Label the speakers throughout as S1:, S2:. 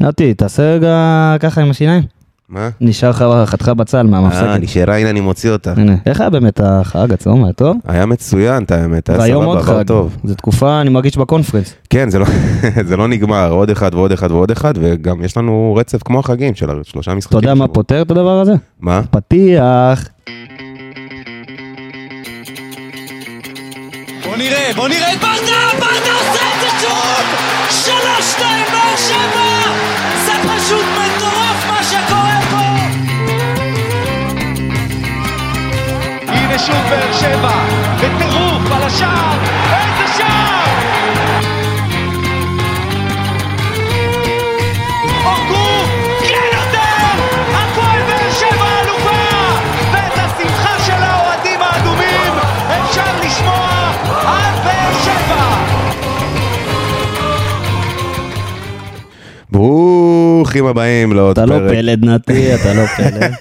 S1: נתי, תעשה רגע ככה עם השיניים.
S2: מה?
S1: נשאר לך חתך בצל
S2: אה,
S1: מהמפסקת.
S2: נשארה, הנה אני מוציא אותה.
S1: הנה, איך היה באמת החג הצום, היה טוב?
S2: היה מצוין, את האמת, היה
S1: והיום
S2: סבבה,
S1: עוד
S2: עבר
S1: חג.
S2: טוב.
S1: זו תקופה, אני מרגיש בקונפרנס.
S2: כן, זה לא- זה לא נגמר, עוד אחד ועוד אחד ועוד אחד, וגם יש לנו רצף כמו החגים של הר- שלושה
S1: אתה
S2: משחקים.
S1: יודע מה
S2: בשבוע.
S1: פותר את הדבר הזה?
S2: מה?
S1: פתיח.
S3: בוא נראה, בוא נראה את ברדה, ברדה עושה את זה שוב! שלוש, שתיים, באר שבע! זה פשוט מטורף מה שקורה פה!
S4: הנה שוב באר שבע, בטירוף על השער, איזה שער! אורגו, כן יותר! הפועל באר שבע אלופה! ואת השמחה של האוהדים האדומים אפשר לשמוע על באר שבע!
S2: ברוכים הבאים לעוד
S1: אתה לא
S2: פרק. אוקיי.
S1: פלד, נתי, אתה לא פלד.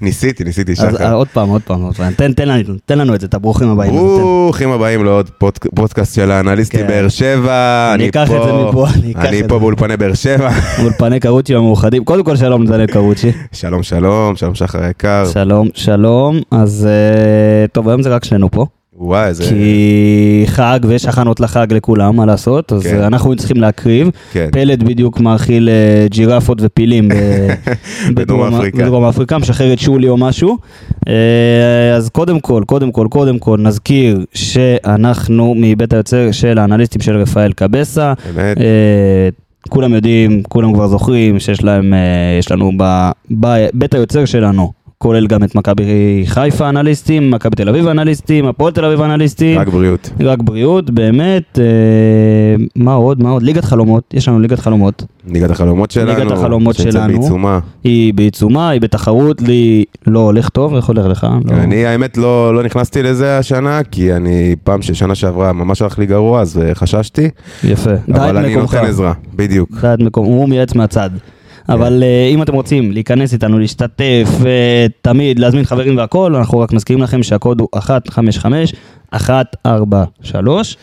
S2: ניסיתי, ניסיתי,
S1: אז אה,
S2: שחר.
S1: עוד פעם, עוד פעם, עוד פעם. תן- תן לנו- תן לנו את זה, את הברוכים הבאים. הזה, תן.
S2: ברוכים הבאים לעוד פוד- פודקאסט של האנליסטים
S1: כן.
S2: באר שבע.
S1: אני אקח את זה
S2: פה-
S1: מפה, אני אקח את
S2: אני
S1: זה.
S2: פה באולפני באר שבע.
S1: אולפני קרוצ'י המאוחדים. קודם כל שלום נתנאל קרוצ'י.
S2: שלום, שלום, שלום שחר היקר.
S1: שלום, שלום. אז אה, טוב, היום זה רק שנינו פה.
S2: וואי, איזה...
S1: כי חג ויש הכנות לחג לכולם, מה לעשות? אז אה,
S2: כן.
S1: אנחנו צריכים להקריב.
S2: כן.
S1: פלד בדיוק מאכיל אה, ג'ירפות ופילים ב-
S2: בדרום אפריקה.
S1: בדרום אפריקה, משחרר את שולי או משהו. אה, אז קודם כל, קודם כל, קודם כל, נזכיר שאנחנו מבית היוצר של האנליסטים של רפאל קבסה.
S2: באמת.
S1: אה, כולם יודעים, כולם כבר זוכרים שיש להם, אה, יש לנו בבית היוצר שלנו. כולל גם את מכבי חיפה אנליסטים, מכבי תל אביב אנליסטים, הפועל תל אביב אנליסטים.
S2: רק בריאות.
S1: רק בריאות, באמת, אה, מה עוד, מה עוד? ליגת חלומות, יש לנו ליגת חלומות.
S2: ליגת החלומות שלנו.
S1: ליגת החלומות
S2: שנמצאת
S1: שלנו.
S2: בעיצומה.
S1: היא בעיצומה, היא בתחרות, לי לא הולך טוב, איך הולך לך? לא.
S2: אני האמת לא, לא נכנסתי לזה השנה, כי אני פעם ששנה שעברה ממש הלך לי גרוע, אז אה, חששתי,
S1: יפה. דע את
S2: אבל אני
S1: מקומך.
S2: נותן עזרה, בדיוק. כן.
S1: דע את מקום, הוא מייעץ מהצד. אבל אה, אם אתם רוצים להיכנס איתנו, להשתתף, אה, תמיד להזמין חברים והכל, אנחנו רק מזכירים לכם שהקוד הוא 155 143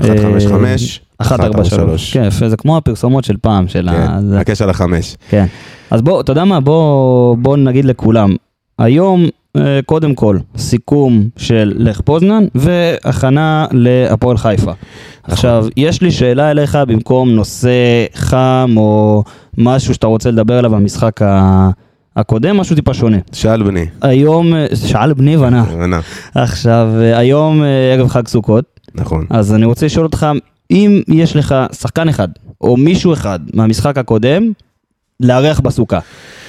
S2: 155,
S1: אה, 143. כן, יפה, זה כמו הפרסומות של פעם, של ה...
S2: כן,
S1: לא, זה-
S2: נקש על החמש.
S1: כן. אז בוא, אתה יודע מה? בוא, בוא נגיד לכולם. היום, אה, קודם כל, סיכום של לך פוזנן והכנה להפועל חיפה. עכשיו, יש לי שאלה אליך במקום נושא חם או משהו שאתה רוצה לדבר עליו במשחק ה- הקודם, משהו טיפה שונה.
S2: שאל בני.
S1: היום, אה, שאל בני בנה.
S2: רנה,
S1: עכשיו, אה, היום אה, ערב חג סוכות,
S2: נכון.
S1: אז אני רוצה לשאול אותך, אם יש לך שחקן אחד, או מישהו אחד מהמשחק הקודם, לארח בסוכה,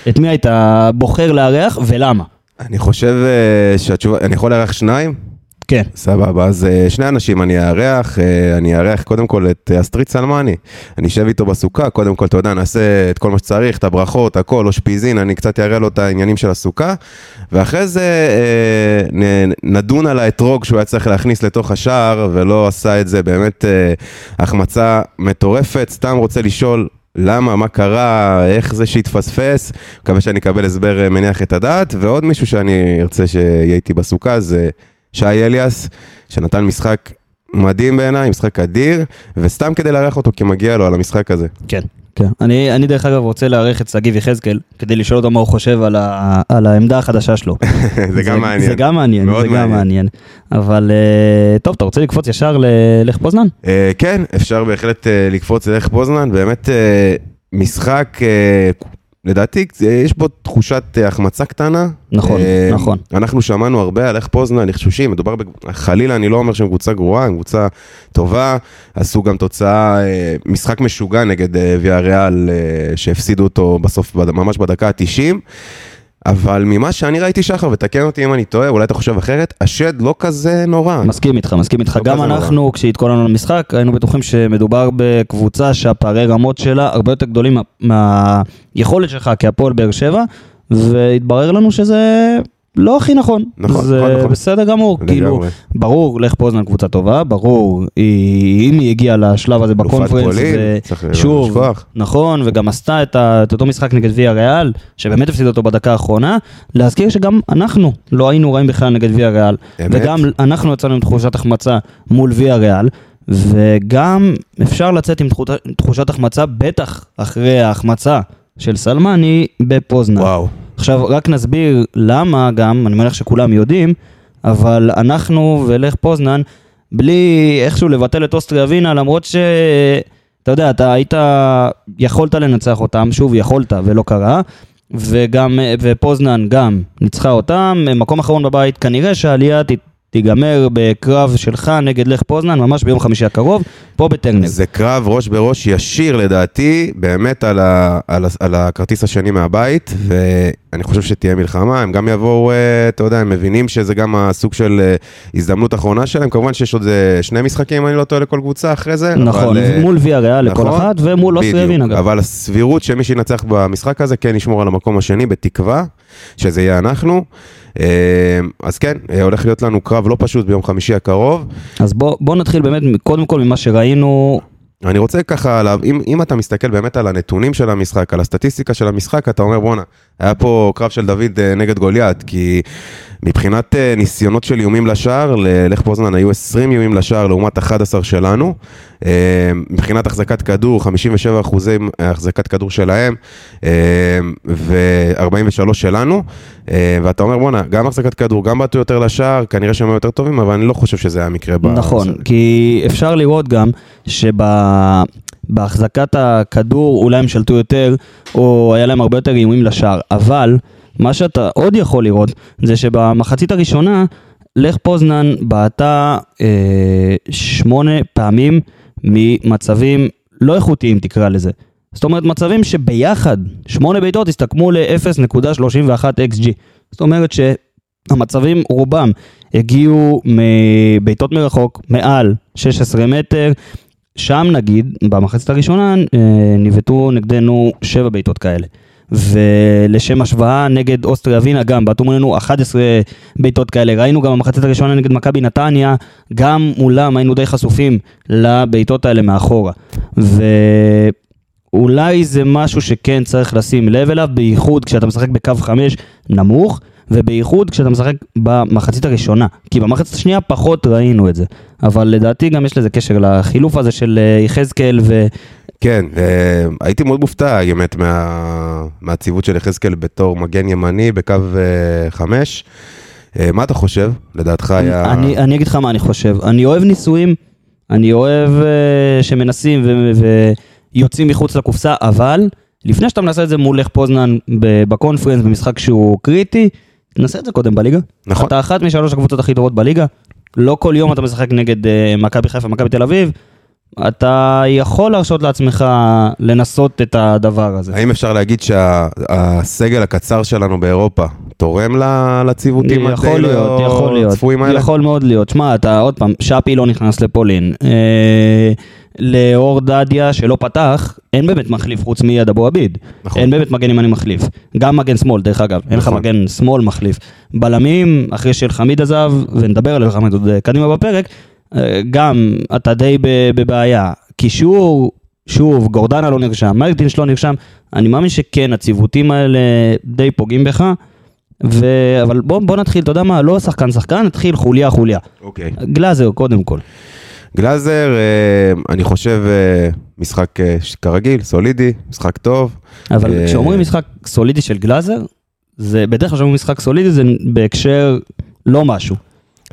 S1: את מי היית בוחר לארח ולמה?
S2: אני חושב אה, שהתשובה, אני יכול לארח שניים?
S1: כן.
S2: סבבה, אז אה, שני אנשים אני אארח, אה, אני אארח קודם כל את אה, אסטרית סלמני, אני אשב איתו בסוכה, קודם כל, אתה יודע, נעשה את כל מה שצריך, את הברכות, הכל, אושפיזין, אני קצת אראה לו את העניינים של הסוכה, ואחרי זה אה, נ- נדון על האתרוג שהוא היה צריך להכניס לתוך השער, ולא עשה את זה, באמת אה, החמצה מטורפת, סתם רוצה לשאול. למה, מה קרה, איך זה שהתפספס, מקווה שאני אקבל הסבר אה, מניח את הדעת, ועוד מישהו שאני ארצה שיהיה איתי בסוכה זה שי אליאס, שנתן משחק מדהים בעיניי, משחק אדיר, וסתם כדי לארח אותו כי מגיע לו על המשחק הזה.
S1: כן. כן. אני, אני דרך אגב רוצה לארח את שגיב יחזקאל, כדי לשאול אותו מה הוא חושב על, ה, על העמדה החדשה שלו.
S2: זה גם מעניין.
S1: זה גם מעניין,
S2: מאוד
S1: זה גם מעניין. אבל אה, טוב, אתה רוצה לקפוץ ישר ל- לך פוזנן?
S2: אה, כן, אפשר בהחלט אה, לקפוץ לדרך פוזנן, באמת אה, משחק, אה, לדעתי אה, יש בו תחושת אה, החמצה קטנה.
S1: נכון,
S2: אה,
S1: נכון.
S2: אנחנו שמענו הרבה על איך פוזנן, נחשושים, מדובר, בק- חלילה, אני לא אומר שהם קבוצה גרועה, הם קבוצה טובה, עשו גם תוצאה, אה, משחק משוגע נגד אה, ויה ריאל, אה, שהפסידו אותו בסוף, בד- ממש בדקה ה-90. אבל ממה שאני ראיתי, שחר, ותקן אותי אם אני טועה, אולי אתה חושב אחרת, השד לא כזה נורא.
S1: מסכים איתך, מסכים איתך.
S2: לא
S1: גם
S2: כזה נורא.
S1: אנחנו, כשהתכוננו למשחק, היינו בטוחים שמדובר בקבוצה שהפערי רמות שלה הרבה יותר גדולים מה- מהיכולת שלך כהפועל באר שבע, והתברר לנו שזה לא הכי נכון.
S2: נכון,
S1: זה
S2: נכון, נכון.
S1: בסדר גמור.
S2: לגמרי.
S1: כאילו, ברור, לך פוזנן קבוצה טובה, ברור, היא- אם היא הגיעה לשלב הזה
S2: אלופת
S1: בקונפרנס,
S2: פולין,
S1: זה-
S2: צריך לא
S1: שוב,
S2: לשכוח.
S1: נכון, וגם עשתה את ה- את אותו משחק נגד ויה ריאל, שבאמת הפסיד אותו בדקה האחרונה, להזכיר שגם אנחנו לא היינו רעים בכלל נגד ויה ריאל,
S2: אמת?
S1: וגם אנחנו יצאנו עם תחושת החמצה מול ויה ריאל, וגם אפשר לצאת עם תחוט- תחושת החמצה, בטח אחרי ההחמצה של סלמני בפוזנן.
S2: וואו.
S1: עכשיו, רק נסביר למה גם, אני מניח שכולם יודעים, אבל אנחנו ולך פוזנן, בלי איכשהו לבטל את אוסטריה ווינה, למרות ש... אתה יודע, אתה היית, יכולת לנצח אותם, שוב יכולת ולא קרה, וגם, ופוזנן גם ניצחה אותם, מקום אחרון בבית, כנראה שהעלייה ת, תיגמר בקרב שלך נגד לך פוזנן, ממש ביום חמישי הקרוב, פה בטרנר.
S2: זה קרב ראש בראש ישיר לדעתי, באמת על, ה, על, ה, על הכרטיס השני מהבית, ואני חושב שתהיה מלחמה, הם גם יבואו, אה, אתה יודע, הם מבינים שזה גם הסוג של אה, הזדמנות אחרונה שלהם, כמובן שיש עוד אה, שני משחקים, אם אני לא טועה, לכל קבוצה אחרי זה.
S1: נכון,
S2: אבל, אה,
S1: מול ויה ריאל לכל
S2: נכון?
S1: אחת, ומול אוסטריה
S2: בדיוק.
S1: ווינה גם.
S2: אבל הסבירות שמי שינצח במשחק הזה כן ישמור על המקום השני, בתקווה שזה יהיה אנחנו. אה, אז כן, אה, הולך להיות לנו קרב לא פשוט ביום חמישי הקרוב.
S1: אז בוא, בוא נתחיל באמת, קודם כל ממה שראינו,
S2: אני רוצה ככה, עליו, אם, אם אתה מסתכל באמת על הנתונים של המשחק, על הסטטיסטיקה של המשחק, אתה אומר בואנה, היה פה קרב של דוד אה, נגד גוליית, כי מבחינת אה, ניסיונות של איומים לשער, ללך פוזנן היו 20 איומים לשער לעומת 11 שלנו. אה, מבחינת החזקת כדור, 57 אחוזים החזקת כדור שלהם, ו-43 שלנו. אה, ואתה אומר בואנה, גם החזקת כדור, גם בעטו יותר לשער, כנראה שהם היו יותר טובים, אבל אני לא חושב שזה היה המקרה. ב-
S1: נכון, כי אפשר לראות גם שבהחזקת הכדור אולי הם שלטו יותר, או היה להם הרבה יותר איומים לשער, אבל מה שאתה עוד יכול לראות זה שבמחצית הראשונה, לך פוזנן בעטה אה, שמונה פעמים ממצבים לא איכותיים תקרא לזה. זאת אומרת מצבים שביחד, שמונה בעיטות הסתכמו ל-0.31 XG. זאת אומרת ש... המצבים רובם הגיעו מבעיטות מרחוק, מעל 16 מטר. שם נגיד, במחצית הראשונה, אה, ניבטו נגדנו 7 בעיטות כאלה. ולשם השוואה, נגד אוסטריה ווינה גם, בעטו מולנו 11 בעיטות כאלה. ראינו גם במחצית הראשונה נגד מכבי נתניה, גם מולם היינו די חשופים לבעיטות האלה מאחורה. ו... אולי זה משהו שכן צריך לשים לב אליו, בייחוד כשאתה משחק בקו חמש נמוך, ובייחוד כשאתה משחק במחצית הראשונה. כי במחצית השנייה פחות ראינו את זה. אבל לדעתי גם יש לזה קשר לחילוף הזה של אה, יחזקאל ו...
S2: כן, אה, הייתי מאוד מופתע, האמת, מה- מהציוות של יחזקאל בתור מגן ימני בקו אה, חמש. אה, מה אתה חושב? לדעתך היה...
S1: אני, אני אגיד לך מה אני חושב. אני אוהב ניסויים, אני אוהב uh, שמנסים ו- ויוצאים מחוץ לקופסה, אבל לפני שאתה מנסה את זה מול לך פוזנן ב- בקונפרנס, במשחק שהוא קריטי, תנסה את זה קודם בליגה.
S2: נכון.
S1: אתה אחת משלוש הקבוצות הכי טובות בליגה. לא כל יום אתה משחק נגד אה, מכבי חיפה, מכבי תל אביב. אתה יכול להרשות לעצמך לנסות את הדבר הזה.
S2: האם אפשר להגיד שהסגל הקצר שלנו באירופה תורם ל- לציוותים
S1: יכול להיות, יכול להיות,
S2: הצפויים לא האלה?
S1: יכול מאוד להיות. שמע, אתה עוד פעם, שפי לא נכנס לפולין. אה, לאור דדיה שלא פתח, אין באמת מחליף חוץ מיד אבו עביד.
S2: נכון.
S1: אין באמת מגן ימני מחליף. גם מגן שמאל, דרך אגב. אין לך
S2: נכון.
S1: מגן שמאל מחליף. בלמים, אחרי שאלחמיד עזב, ונדבר על אלחמיד עוד אה, קדימה בפרק, אה, גם אתה די ב- בבעיה. קישור, שוב, גורדנה לא נרשם, מרטינש לא נרשם. אני מאמין שכן, הציוותים האלה די פוגעים בך. ו... אבל בוא, בוא נתחיל, אתה יודע מה, לא שחקן שחקן, נתחיל חוליה חוליה.
S2: אוקיי.
S1: גלאזר קודם כל.
S2: גלאזר, אה, אני חושב, אה, משחק אה, ש- כרגיל, סולידי, משחק טוב.
S1: אבל
S2: אה,
S1: כשאומרים משחק סולידי של גלאזר, זה בדרך כלל כשאומרים משחק סולידי זה בהקשר לא משהו.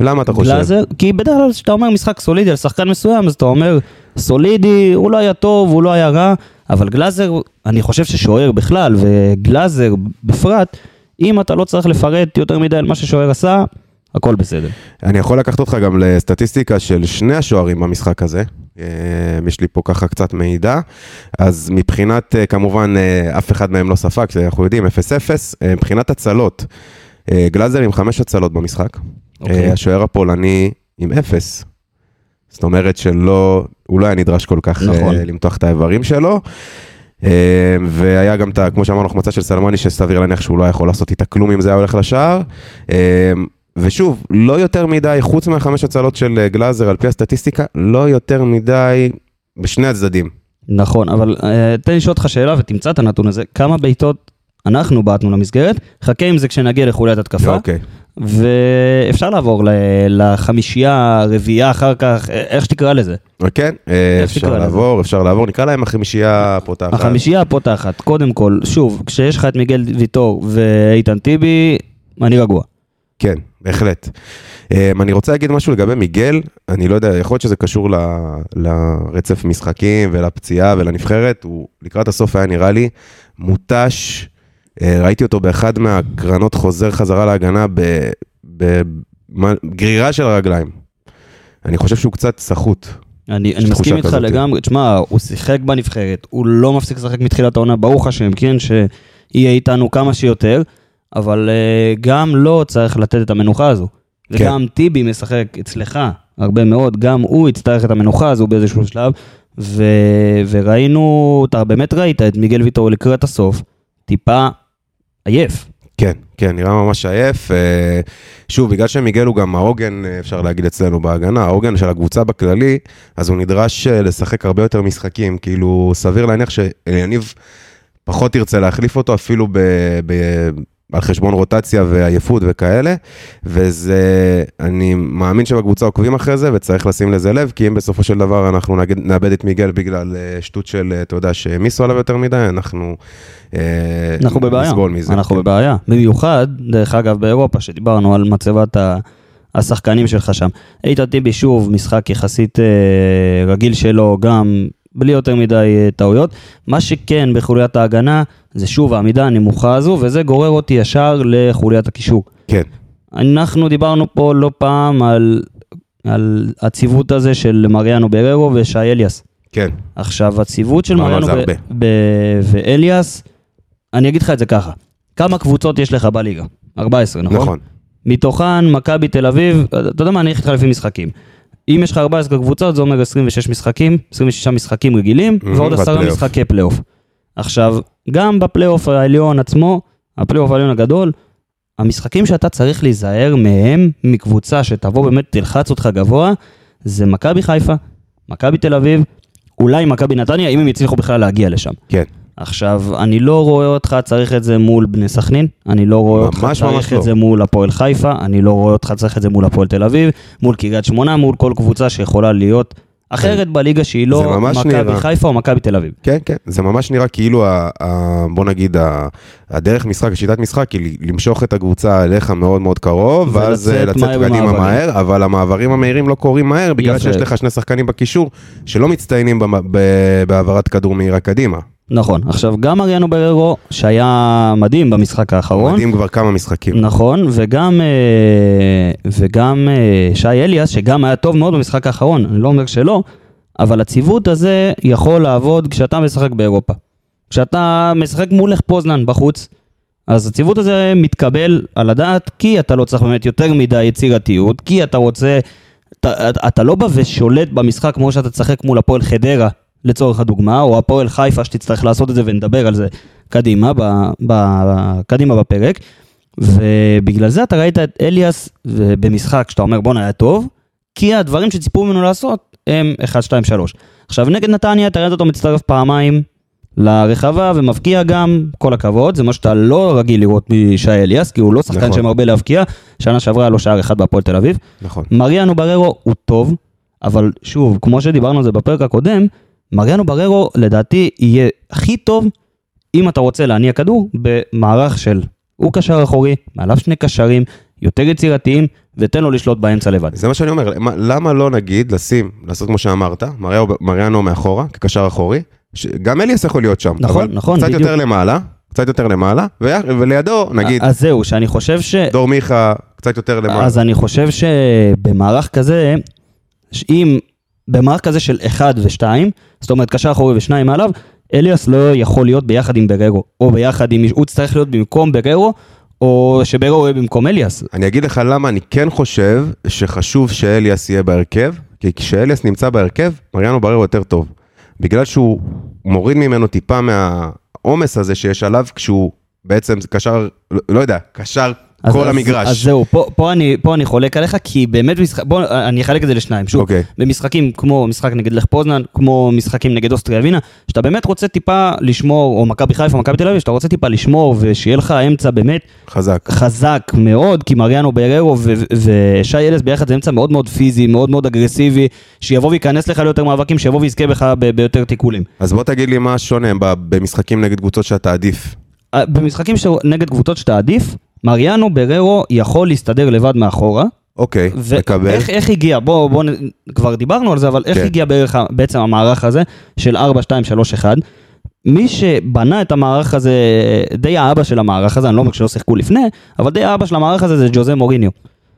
S2: למה אתה חושב?
S1: גלאזר, כי בדרך כלל כשאתה אומר משחק סולידי על שחקן מסוים, אז אתה אומר סולידי, הוא לא היה טוב, הוא לא היה רע, אבל גלאזר, אני חושב ששוער בכלל, וגלאזר בפרט, אם אתה לא צריך לפרט יותר מדי על מה ששוער עשה, הכל בסדר.
S2: אני יכול לקחת אותך גם לסטטיסטיקה של שני השוערים במשחק הזה. אה, יש לי פה ככה קצת מידע. אז מבחינת, אה, כמובן, אה, אף אחד מהם לא ספג, זה אנחנו יודעים, 0-0. אה, מבחינת הצלות, אה, גלאזר עם חמש הצלות במשחק.
S1: אוקיי.
S2: אה, השוער הפולני עם אפס. זאת אומרת שלא, הוא לא היה נדרש כל כך
S1: נכון.
S2: נכון. למתוח את האיברים שלו. אה, והיה גם את, ה- כמו שאמרנו, החמצה של סלמני, שסביר להניח שהוא לא היה יכול לעשות איתה כלום אם זה היה הולך לשער. אה, ושוב, לא יותר מדי, חוץ מהחמש הצלות של אה, גלאזר, על פי הסטטיסטיקה, לא יותר מדי בשני הצדדים.
S1: נכון, אבל אה, תן לי לשאול אותך שאלה ותמצא את הנתון הזה. כמה בעיטות אנחנו בעטנו למסגרת? חכה עם זה כשנגיע לחוליית התקפה.
S2: אוקיי.
S1: ואפשר לעבור ל- לחמישייה, רביעייה אחר כך, א- איך שתקרא לזה.
S2: כן, אה,
S1: איך
S2: אפשר
S1: תקרא לזה?
S2: לעבור, אפשר לעבור, נקרא להם החמישייה הפותחת.
S1: החמישייה הפותחת, קודם כל, שוב, כשיש לך את מיגל ויטור ואיתן טיבי, אני רגוע.
S2: כן, בהחלט. אמ, אני רוצה להגיד משהו לגבי מיגל, אני לא יודע, יכול להיות שזה קשור ל- לרצף משחקים ולפציעה ולנבחרת, הוא לקראת הסוף היה נראה לי מותש, אה, ראיתי אותו באחד מהקרנות חוזר חזרה להגנה בגרירה של הרגליים. אני חושב שהוא קצת סחוט.
S1: אני, אני
S2: תחושה
S1: מסכים איתך
S2: כזאת. כן.
S1: לגמרי, תשמע, הוא שיחק בנבחרת, הוא לא מפסיק לשחק מתחילת העונה, ברוך השם, כן, שיהיה איתנו כמה שיותר, אבל אה, גם לו צריך לתת את המנוחה הזו.
S2: כן.
S1: וגם טיבי משחק אצלך הרבה מאוד, גם הוא יצטרך את המנוחה הזו באיזשהו שלב, ו, וראינו, אתה באמת ראית את מיגל ויטור לקראת הסוף, טיפה עייף.
S2: כן, כן, נראה ממש עייף. אה, שוב, בגלל שמיגל הוא גם העוגן, אה, אפשר להגיד אצלנו בהגנה, העוגן של הקבוצה בכללי, אז הוא נדרש אה, לשחק הרבה יותר משחקים. כאילו, סביר להניח שיניב פחות ירצה להחליף אותו, אפילו ב... ב על חשבון רוטציה ועייפות וכאלה, וזה, אני מאמין שבקבוצה עוקבים אחרי זה, וצריך לשים לזה לב, כי אם בסופו של דבר אנחנו נגיד, נאבד את מיגל בגלל אה, שטות של, אה, אתה יודע, שמיסו עליו יותר מדי, אנחנו אה,
S1: אנחנו בבעיה,
S2: נסבול מזה.
S1: אנחנו
S2: כן.
S1: בבעיה. במיוחד, דרך אגב, באירופה, שדיברנו על מצבת ה... השחקנים שלך שם. איתן טיבי שוב, משחק יחסית אה, רגיל שלו, גם בלי יותר מדי אה, טעויות. מה שכן בחוליית ההגנה, זה שוב העמידה הנמוכה הזו, וזה גורר אותי ישר לחוליית הקישור.
S2: כן.
S1: אנחנו דיברנו פה לא פעם על, על הציוות הזה של מריאנו בררו ושי אליאס.
S2: כן,
S1: עכשיו, הציוות של
S2: דיברנו על
S1: מריאנו
S2: זה הרבה.
S1: ב- ב- ואליאס, אני אגיד לך את זה ככה, כמה קבוצות יש לך בליגה? 14, נכון?
S2: נכון.
S1: מתוכן, מכבי תל אביב, אתה יודע מה, אני אלך איתך לפי משחקים. אם יש לך 14 קבוצות, זה אומר 26 משחקים, 26 משחקים רגילים,
S2: Mhm,
S1: ועוד
S2: ועד
S1: 10
S2: פלייאוף.
S1: משחקי פלייאוף. עכשיו, גם בפלייאוף העליון עצמו, הפלייאוף העליון הגדול, המשחקים שאתה צריך להיזהר מהם, מקבוצה שתבוא באמת, תלחץ אותך גבוה, זה מכבי חיפה, מכבי תל אביב, אולי מכבי נתניה, אם הם יצליחו בכלל להגיע לשם.
S2: כן.
S1: עכשיו, אני לא רואה אותך צריך את זה מול בני סכנין, אני לא רואה אותך
S2: ממש, ממש
S1: צריך
S2: לא.
S1: את זה מול הפועל חיפה, אני לא רואה אותך צריך את זה מול הפועל תל אביב, מול קריית שמונה, מול כל קבוצה שיכולה להיות אחרת בליגה שהיא
S2: זה
S1: לא
S2: ממש
S1: מכבי
S2: נראה.
S1: חיפה או מכבי תל אביב.
S2: כן, כן, זה ממש נראה כאילו, ה, ה, בוא נגיד, ה, הדרך משחק, השיטת משחק, היא למשוך את הקבוצה אליך מאוד מאוד קרוב, ואז אה,
S1: ולצאת
S2: לצאת
S1: מהר
S2: קדימה
S1: במעברים.
S2: מהר, אבל המעברים המהירים לא קורים מהר, בגלל
S1: יפה.
S2: שיש לך שני שחקנים בקישור שלא מצטיינים במ- ב- בהעברת כדור מהירה קדימה.
S1: נכון, עכשיו גם אריאנו בררו, שהיה מדהים במשחק האחרון,
S2: מדהים כבר כמה משחקים.
S1: נכון, וגם, אה, וגם אה, שי אליאס, שגם היה טוב מאוד במשחק האחרון, אני לא אומר שלא, אבל הציוות הזה יכול לעבוד כשאתה משחק באירופה. כשאתה משחק מול לך פוזנן בחוץ, אז הציוות הזה מתקבל על הדעת, כי אתה לא צריך באמת יותר מדי יצירתיות, כי אתה רוצה... אתה, אתה לא בא ושולט במשחק כמו שאתה תשחק מול הפועל חדרה, לצורך הדוגמה, או הפועל חיפה שתצטרך לעשות את זה ונדבר על זה קדימה, ב, ב, קדימה בפרק. ובגלל זה אתה ראית את אליאס אה, במשחק שאתה אומר בואנה היה טוב, כי הדברים שציפו ממנו לעשות הם 1, 2, 3. עכשיו נגד נתניה אתה ראית אותו מצטרף פעמיים לרחבה ומבקיע גם, כל הכבוד, זה מה שאתה לא רגיל לראות משי אליאס, כי הוא לא שחקן
S2: נכון.
S1: שמרבה להבקיע, שנה שעברה היה לו שער אחד בהפועל תל אביב.
S2: נכון.
S1: מריאנו בררו הוא טוב, אבל שוב, כמו שדיברנו על זה בפרק הקודם, מריאנו בררו לדעתי יהיה הכי טוב אם אתה רוצה להניע כדור במערך של הוא קשר אחורי, מעליו שני קשרים, יותר יצירתיים, ותן לו לשלוט באמצע לבד.
S2: זה מה שאני אומר, מה- למה לא נגיד לשים, לעשות כמו שאמרת, מריאו- מריאנו מאחורה, כקשר אחורי, ש- גם אליאס יכול להיות שם.
S1: נכון,
S2: אבל
S1: נכון,
S2: קצת
S1: בדיוק.
S2: יותר למעלה, קצת יותר למעלה, ו- ולידו, נגיד,
S1: אז זהו, שאני חושב ש...
S2: דור מיכה, קצת יותר למעלה.
S1: אז אני חושב שבמערך כזה, אם במערך כזה של 1 ו-2, זאת אומרת קשר אחורי ושניים מעליו, אליאס לא יכול להיות ביחד עם בררו, או ביחד עם, מישהו, הוא צריך להיות במקום בררו, או שבררו יהיה במקום אליאס.
S2: אני אגיד לך למה אני כן חושב שחשוב שאליאס יהיה בהרכב, כי כשאליאס נמצא בהרכב, מריאנו ברר הוא יותר טוב. בגלל שהוא מוריד ממנו טיפה מהעומס הזה שיש עליו, כשהוא בעצם קשר, לא- לא יודע, קשר
S1: אז-
S2: כל
S1: אז-
S2: המגרש.
S1: אז זהו, פה, פה, אני, פה אני חולק עליך, כי באמת משחק... בוא, אני אחלק את זה לשניים. שוב,
S2: אוקיי.
S1: במשחקים כמו משחק נגד לך פוזנן, כמו משחקים נגד אוסטריה ווינה, שאתה באמת רוצה טיפה לשמור, או מכבי חיפה, מכבי תל אביב, שאתה רוצה טיפה לשמור, ושיהיה לך אמצע באמת
S2: חזק.
S1: חזק מאוד, כי מריאנו בררו ו- ו- ושי אלס ביחד זה אמצע מאוד מאוד פיזי, מאוד מאוד אגרסיבי, שיבוא וייכנס לך ליותר מאבקים, שיבוא ויזכה בך ב- ביותר תיקולים.
S2: אז בוא תגיד לי מה שונה ב- במשחקים נגד קבוצות שאתה עדיף.
S1: אה, במשחקים ש- נגד קבוצות שאתה עדיף, מריאנו בררו יכול להסתדר לבד מאחורה.
S2: אוקיי, מקבל.
S1: ואיך איך הגיע, בואו, בוא, נ- כבר דיברנו על זה, אבל איך
S2: כן.
S1: הגיע בערך, ה- בעצם המערך הזה של 4, 2, 3, 1? מי שבנה את המערך הזה, די האבא של המערך הזה, אני לא אומר שלא שיחקו לפני, אבל די האבא של המערך הזה זה ג'וזה מוריניו.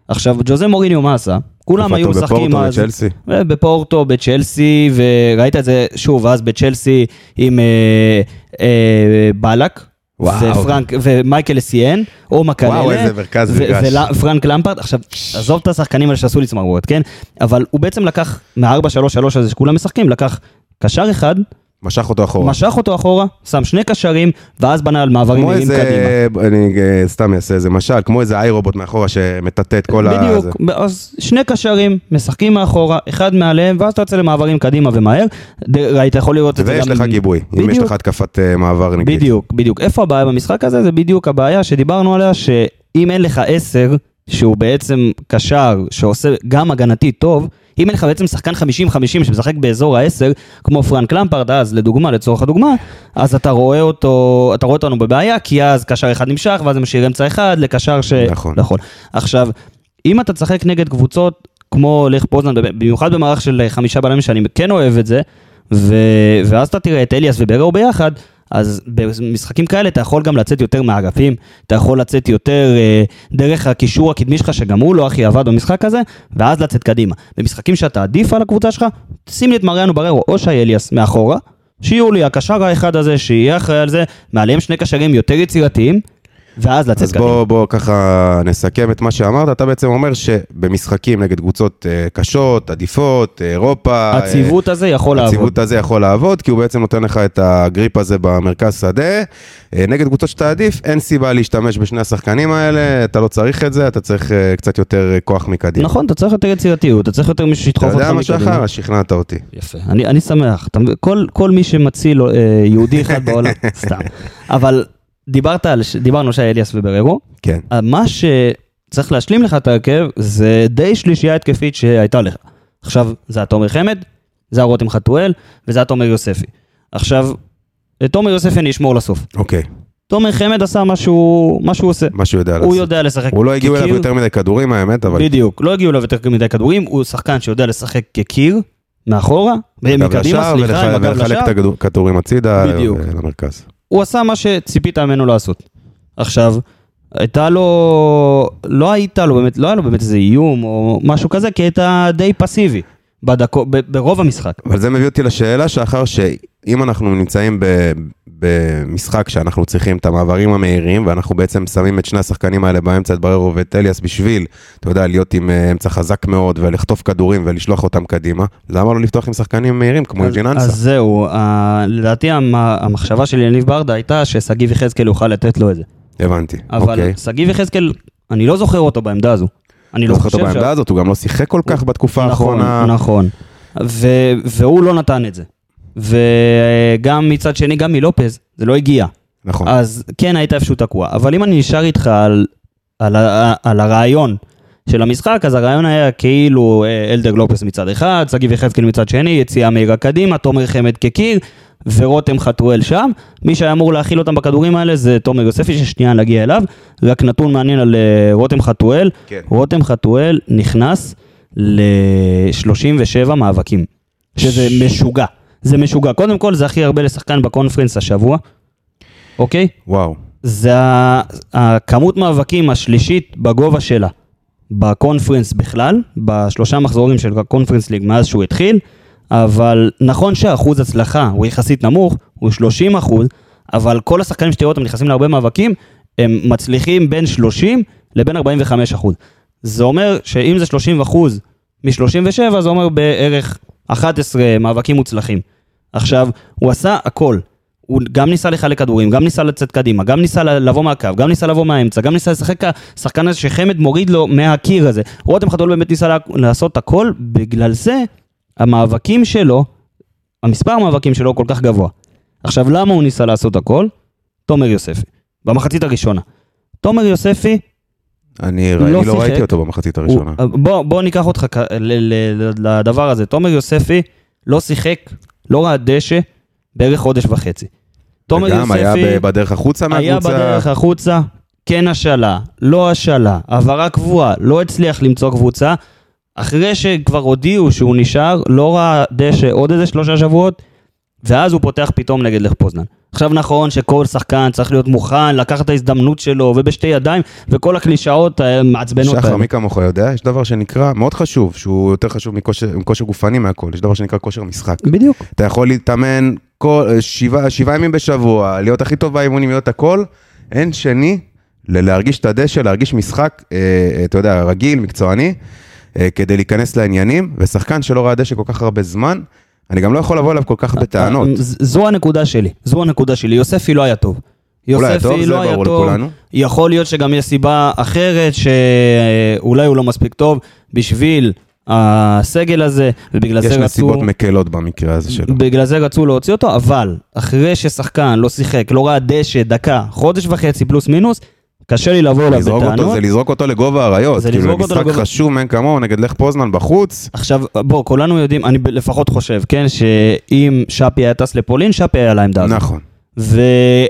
S1: עכשיו, ג'וזה מוריניו מה עשה? כולם
S2: איפה
S1: היו
S2: אתה?
S1: משחקים
S2: בפורטו,
S1: אז...
S2: בצ'לסי?
S1: בפורטו, בצ'לסי, וראית את זה שוב, אז בצ'לסי עם אה, אה, בלק.
S2: וואו.
S1: ופרנק, ומייקל אסיאן, או מכאלה.
S2: וואו, איזה מרכז
S1: ו-
S2: מגרש.
S1: ולה- פרנק למפרד, עכשיו, עזוב את השחקנים האלה שעשו לי צמרמורת, כן? אבל הוא בעצם לקח, מה-4-3-3 הזה שכולם משחקים, לקח קשר אחד,
S2: משך אותו אחורה.
S1: משך אותו אחורה, שם שני קשרים, ואז בנה על מעברים
S2: כמו
S1: מהירים קדימה.
S2: איזה, אני אה, סתם אעשה איזה משל, כמו איזה איי רובוט מאחורה שמטאטא את כל ה...
S1: בדיוק, ב- אז שני קשרים, משחקים מאחורה, אחד מעליהם, ואז אתה יוצא למעברים קדימה ומהר. ד- ראית, יכול לראות את זה גם...
S2: ויש לך גיבוי, אם יש
S1: בדיוק.
S2: לך התקפת אה, מעבר נגיד.
S1: בדיוק, בדיוק. איפה הבעיה במשחק הזה? זה בדיוק הבעיה שדיברנו עליה, שאם אין לך עשר, שהוא בעצם קשר, שעושה גם הגנתי טוב, אם אין לך בעצם שחקן 50-50 שמשחק באזור העשר, כמו פרנק למפרד, אז לדוגמה, לצורך הדוגמה, אז אתה רואה אותו, אתה רואה אותנו בבעיה, כי אז קשר אחד נמשך, ואז זה משאיר אמצע אחד לקשר ש...
S2: נכון.
S1: נכון. עכשיו, אם אתה תשחק נגד קבוצות כמו לך פוזנן, במיוחד במערך של אה, חמישה בלמים, שאני כן אוהב את זה, ו... ואז אתה תראה את אליאס ובראו ביחד, אז במשחקים כאלה אתה יכול גם לצאת יותר מהאגפים, אתה יכול לצאת יותר אה, דרך הקישור הקדמי שלך, שגם הוא לא הכי עבד במשחק הזה, ואז לצאת קדימה. במשחקים שאתה עדיף על הקבוצה שלך, שים לי את מריאנו בררו או שי אליאס מאחורה, שיהיו לי הקשר האחד הזה, שיהיה אחראי על זה, מעליהם שני קשרים יותר יצירתיים, ואז לצאת
S2: אז
S1: קדימה.
S2: בוא, בוא ככה נסכם את מה שאמרת, אתה בעצם אומר שבמשחקים נגד קבוצות אה, קשות, עדיפות, אה, אירופה,
S1: הציוות הזה יכול
S2: אה,
S1: לעבוד.
S2: הציוות הזה יכול לעבוד, כי הוא בעצם נותן לך את הגריפ הזה במרכז שדה. אה, נגד קבוצות שאתה עדיף, אין סיבה להשתמש בשני השחקנים האלה, אתה לא צריך את זה, אתה צריך אה, קצת יותר אה, כוח מקדימה.
S1: נכון, אתה צריך יותר יצירתיות, אתה צריך יותר מישהו
S2: אתה
S1: שידחוף אותך
S2: יודע מה
S1: מקדימה.
S2: שחר? שכנעת אותי.
S1: יפה. אני, אני שמח. אתה, מבין? כל, כל מי שמציל אה, יהודי אחד בעולם, סתם. אבל דיברת על, ש- דיברנו שי אליאס ובררו,
S2: כן.
S1: אה, מה שצריך להשלים לך את ההרכב זה די שלישייה התקפית שהייתה לך. עכשיו, זה התומר חמד, זה הרותם חתואל, וזה התומר יוספי. עכשיו, את תומר יוספי אני אשמור לסוף.
S2: אוקיי,
S1: תומר חמד עשה מה שהוא, מה שהוא עושה.
S2: מה שהוא יודע לעשות.
S1: הוא יודע לשחק. כאילו-
S2: הוא לא הגיעו אליו
S1: כקיר.
S2: יותר מדי כדורים האמת, אבל
S1: בדיוק, לא הגיעו אליו יותר מדי כדורים, הוא שחקן שיודע לשחק כקיר, מאחורה,
S2: גב
S1: אה, מקדימה,
S2: לשער
S1: סליחה, עם
S2: ולח-
S1: הגב
S2: ולחלק
S1: לשער,
S2: את הכדור- הכדורים הצידה אה,
S1: בדיוק.
S2: למרכז.
S1: הוא עשה מה שציפית ממנו לעשות. עכשיו, הייתה לו, לא הייתה לו באמת, לא היה לו באמת איזה איום או משהו כזה, כי הייתה די פסיבי בדקו, ב, ברוב המשחק.
S2: אבל זה מביא אותי לשאלה שאחר שאם אנחנו נמצאים ב- במשחק שאנחנו צריכים את המעברים המהירים, ואנחנו בעצם שמים את שני השחקנים האלה באמצע, את בררו ואת אליאס, בשביל, אתה יודע, להיות עם אה, אמצע חזק מאוד ולחטוף כדורים ולשלוח אותם קדימה, למה לא לפתוח עם שחקנים מהירים כמו
S1: אז, אז
S2: ג'יננסה?
S1: זהו, ה, לדעתי המ, המחשבה של יניב ברדה הייתה ששגיב יחזקאל יוכל לתת לו את זה.
S2: הבנתי,
S1: אבל
S2: אוקיי.
S1: okay. שגיב יחזקאל, אני לא זוכר אותו בעמדה הזו. אני
S2: לא
S1: לא
S2: זוכר
S1: חושב
S2: אותו
S1: שה-
S2: בעמדה הזאת, הוא גם לא שיחק כל כך בתקופה האחרונה.
S1: נכון, נכון. ו- והוא לא נתן את זה. וגם מצד שני, גם מלופז, זה לא הגיע.
S2: נכון.
S1: אז כן, היית איפשהו תקוע. אבל אם אני נשאר איתך על, על, ה- על הרעיון של המשחק, אז הרעיון היה כאילו אה, אלדר לופס מצד אחד, שגיב יחזקאל מצד שני, יציאה מהירה קדימה, תומר חמד כקיר, ורותם חתואל שם. מי שהיה אמור להכיל אותם בכדורים האלה זה תומר יוספי, ששנייה נגיע אליו. רק נתון מעניין על אה, רותם חתואל.
S2: כן.
S1: רותם חתואל נכנס ל-37 מאבקים, שזה משוגע. זה משוגע. קודם כל, זה הכי הרבה לשחקן בקונפרנס השבוע, אוקיי?
S2: וואו.
S1: זה ה- הכמות מאבקים השלישית בגובה שלה בקונפרנס בכלל, בשלושה מחזורים של הקונפרנס ליג מאז שהוא התחיל, אבל נכון שהאחוז הצלחה הוא יחסית נמוך, הוא 30 אחוז, אבל כל השחקנים שתראו אותם נכנסים להרבה מאבקים, הם מצליחים בין 30 לבין 45 אחוז. זה אומר שאם זה 30 אחוז מ-37, זה אומר בערך 11 מאבקים מוצלחים. עכשיו, הוא עשה הכל. הוא הוא גם ניסה לחלק כדורים, גם ניסה לצאת קדימה, גם ניסה ל- לבוא מהקו, גם ניסה לבוא מהאמצע, גם ניסה לשחק השחקן הזה שחמד מוריד לו מהקיר הזה. רותם חתול באמת ניסה לה- לעשות הכל, בגלל זה המאבקים שלו, המספר המאבקים שלו כל כך גבוה. עכשיו, למה הוא ניסה לעשות הכל? תומר יוספי, במחצית הראשונה. תומר יוספי
S2: אני
S1: לא
S2: אני לא
S1: שיחק.
S2: ראיתי אותו במחצית
S1: הוא,
S2: הראשונה.
S1: בוא, בוא ניקח אותך כ- ל- ל- לדבר הזה. תומר יוספי לא שיחק, לא ראה דשא, בערך חודש וחצי. תומר
S2: וגם
S1: יוספי
S2: היה ב- בדרך החוצה
S1: היה
S2: מהקבוצה.
S1: בדרך החוצה, כן השאלה, לא השאלה, העברה קבועה, לא הצליח למצוא קבוצה. אחרי שכבר הודיעו שהוא נשאר, לא ראה דשא עוד איזה שלושה שבועות, ואז הוא פותח פתאום נגד לך פוזנן. עכשיו נכון שכל שחקן צריך להיות מוכן לקחת את ההזדמנות שלו ובשתי ידיים, וכל הקלישאות אה, מעצבנות
S2: שחר, מי כמוך יודע, יש דבר שנקרא, מאוד חשוב, שהוא יותר חשוב מכושר מכושר גופני מהכל, יש דבר שנקרא כושר משחק.
S1: בדיוק.
S2: אתה יכול להתאמן כל, אה, שבעה, שבעה ימים בשבוע, להיות הכי טוב באימונים, להיות הכל, אין שני ללהרגיש את הדשא, להרגיש משחק, אה, אה, אתה יודע, רגיל, מקצועני, אה, כדי להיכנס לעניינים, ושחקן שלא ראה דשא כל כך הרבה זמן, אני גם לא יכול לבוא אליו כל כך
S1: אה,
S2: בטענות.
S1: ז- זו הנקודה שלי, זו הנקודה שלי. יוספי לא היה טוב.
S2: אולי היה
S1: יוספי
S2: טוב, זה
S1: לא היה
S2: ברור
S1: טוב.
S2: לכולנו.
S1: יכול להיות שגם יש סיבה אחרת שאולי הוא לא מספיק טוב בשביל הסגל הזה, ובגלל
S2: יש
S1: זה
S2: נסיבות
S1: רצו...
S2: מקלות במקרה הזה שלו.
S1: בגלל זה רצו להוציא אותו, אבל אחרי ששחקן לא שיחק, לא ראה דשא, דקה, חודש וחצי פלוס מינוס, קשה לי לבוא אליו
S2: לזרוק אותו,
S1: בטענות.
S2: זה לזרוק אותו לגובה האריות,
S1: זה
S2: כאילו
S1: לזרוק אותו
S2: משחק
S1: לגובה-
S2: חשוב מאין כמוהו נגד לך פוזנן בחוץ,
S1: עכשיו, בוא, כולנו יודעים, אני ב- לפחות חושב, כן, שאם שפי היה טס לפולין, שפי היה על העמדה הזאת.
S2: נכון, לא או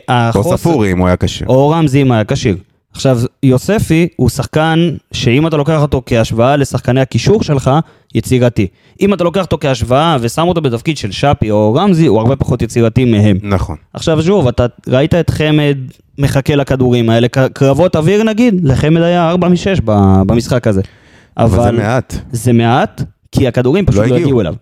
S1: והחוסר...
S2: ספורי אם הוא היה קשה.
S1: או רמזי אם היה כשיר. עכשיו, יוספי הוא שחקן שאם אתה לוקח אותו כהשוואה לשחקני הקישור שלך, יצירתי. אם אתה לוקח אותו כהשוואה ושם אותו בתפקיד של שפי או רמזי, הוא הרבה פחות יצירתי מהם.
S2: נכון.
S1: עכשיו שוב, אתה ראית את חמד מחכה לכדורים האלה, ק- קרבות אוויר נגיד, לחמד היה 4 מ-6 במשחק הזה. אבל,
S2: אבל זה מעט.
S1: זה מעט, כי הכדורים פשוט
S2: לא
S1: לא הגיעו,
S2: הגיעו.
S1: אליו.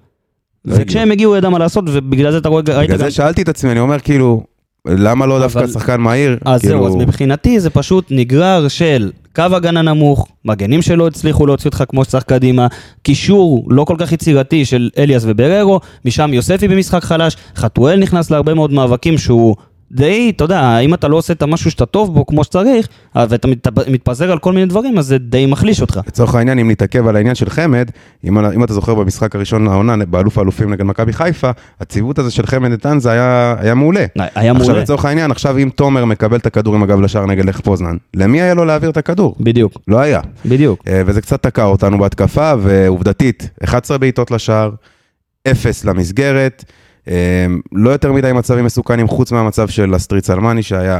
S2: לא הגיעו.
S1: וכשהם הגיעו, ידע מה לעשות, ובגלל זה אתה רואה, ראית
S2: בגלל
S1: גם...
S2: זה שאלתי את עצמי, אני אומר כאילו, למה לא דווקא
S1: אבל-
S2: שחקן מהיר?
S1: אז
S2: כאילו,
S1: זהו, אז מבחינתי זה פשוט נגרר של קו הגנה נמוך, מגנים שלא הצליחו להוציא אותך כמו שצריך קדימה, קישור לא כל כך יצירתי של אליאס ובררו, משם יוספי במשחק חלש, חתואל נכנס להרבה מאוד מאבקים שהוא... די, אתה יודע, אם אתה לא עושה את המשהו שאתה טוב בו כמו שצריך, אה, ואתה מת- מתפזר על כל מיני דברים, אז זה די מחליש אותך.
S2: לצורך העניין, אם נתעכב על העניין של חמד, אם, אם אתה זוכר במשחק הראשון העונה, באלוף האלופים נגד מכבי חיפה, הציוות הזה של חמד נתנזה היה, היה מעולה.
S1: אה, היה
S2: עכשיו
S1: מעולה.
S2: לצורך העניין, עכשיו אם תומר מקבל את הכדור עם הגב לשער נגד לך פוזנן, למי היה לו להעביר את הכדור?
S1: בדיוק,
S2: לא היה.
S1: בדיוק.
S2: אה, וזה קצת תקע אותנו בהתקפה, ועובדתית, 11 בעיטות לשער, 0 למסגרת, אה, לא יותר מדי מצבים מסוכנים, חוץ מהמצב של אסטריץ אלמני שהיה,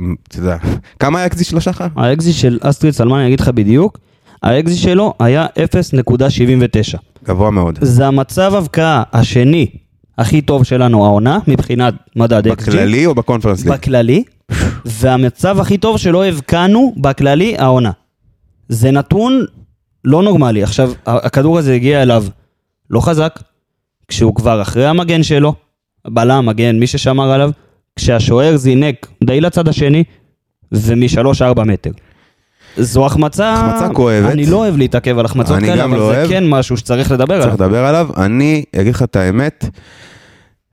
S2: מ, אתה יודע, כמה היה אקזיט שלו שחר?
S1: האקזיט של אסטריד סלמן, אני אגיד לך בדיוק, האקזיט שלו היה 0.79.
S2: גבוה מאוד.
S1: זה המצב הבקעה השני הכי טוב שלנו העונה, מבחינת מדד XG.
S2: בכללי כן. או בקונפרנס ליג?
S1: בכללי. והמצב הכי טוב שלא הבקענו בכללי העונה. זה נתון לא נורמלי. עכשיו, ה- הכדור הזה הגיע אליו לא חזק, כשהוא כבר אחרי המגן שלו, בלם, מגן, מי ששמר עליו, כשהשוער זינק די לצד השני, ומשלוש-ארבע מטר. זו החמצה...
S2: החמצה כואבת.
S1: אני לא אוהב להתעכב על החמצות
S2: אני
S1: כאלה,
S2: גם
S1: אבל
S2: לא
S1: זה
S2: אוהב.
S1: כן משהו שצריך לדבר עליו.
S2: צריך לדבר עליו. אני אגיד לך את האמת,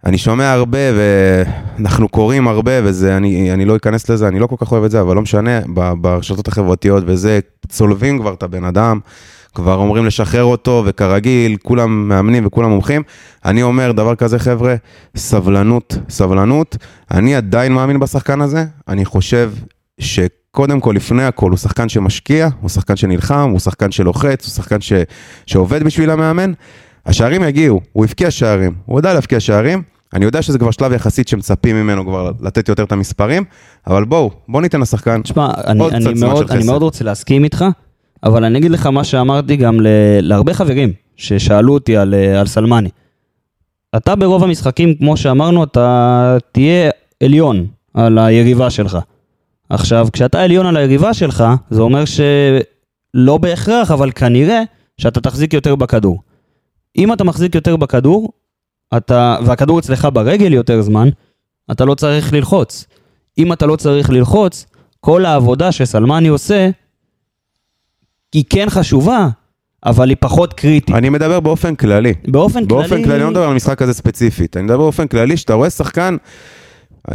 S2: אני שומע הרבה ואנחנו קוראים הרבה וזה, אני, אני לא אכנס לזה, אני לא כל כך אוהב את זה, אבל לא משנה, ב- ברשתות החברתיות וזה, צולבים כבר את הבן אדם, כבר אומרים לשחרר אותו, וכרגיל, כולם מאמנים וכולם מומחים. אני אומר דבר כזה, חבר'ה, סבלנות, סבלנות. אני עדיין מאמין בשחקן הזה, אני חושב ש... קודם כל, לפני הכל, הוא שחקן שמשקיע, הוא שחקן שנלחם, הוא שחקן שלוחץ, הוא שחקן ש... שעובד בשביל המאמן. השערים יגיעו, הוא הבקיע שערים, הוא יודע להבקיע שערים. אני יודע שזה כבר שלב יחסית שמצפים ממנו כבר לתת יותר את המספרים, אבל בואו, בואו ניתן לשחקן.
S1: תשמע, אני,
S2: כן. עוד
S1: אני,
S2: קצת זמן
S1: מאוד,
S2: של
S1: אני
S2: חסד.
S1: מאוד רוצה להסכים איתך, אבל אני אגיד לך מה שאמרתי גם ל, להרבה חברים ששאלו אותי על, אה, על סלמני. אתה ברוב המשחקים, כמו שאמרנו, אתה תהיה עליון על היריבה שלך. עכשיו, כשאתה עליון על היריבה שלך, זה אומר שלא בהכרח, אבל כנראה שאתה תחזיק יותר בכדור. אם אתה מחזיק יותר בכדור, אתה, והכדור אצלך ברגל יותר זמן, אתה לא צריך ללחוץ. אם אתה לא צריך ללחוץ, כל העבודה שסלמני עושה, היא כן חשובה, אבל היא פחות קריטית.
S2: אני מדבר באופן כללי.
S1: באופן כללי...
S2: לא באופן כללי, אני לא מדבר על משחק הזה ספציפית, אני מדבר באופן כללי, שאתה רואה שחקן,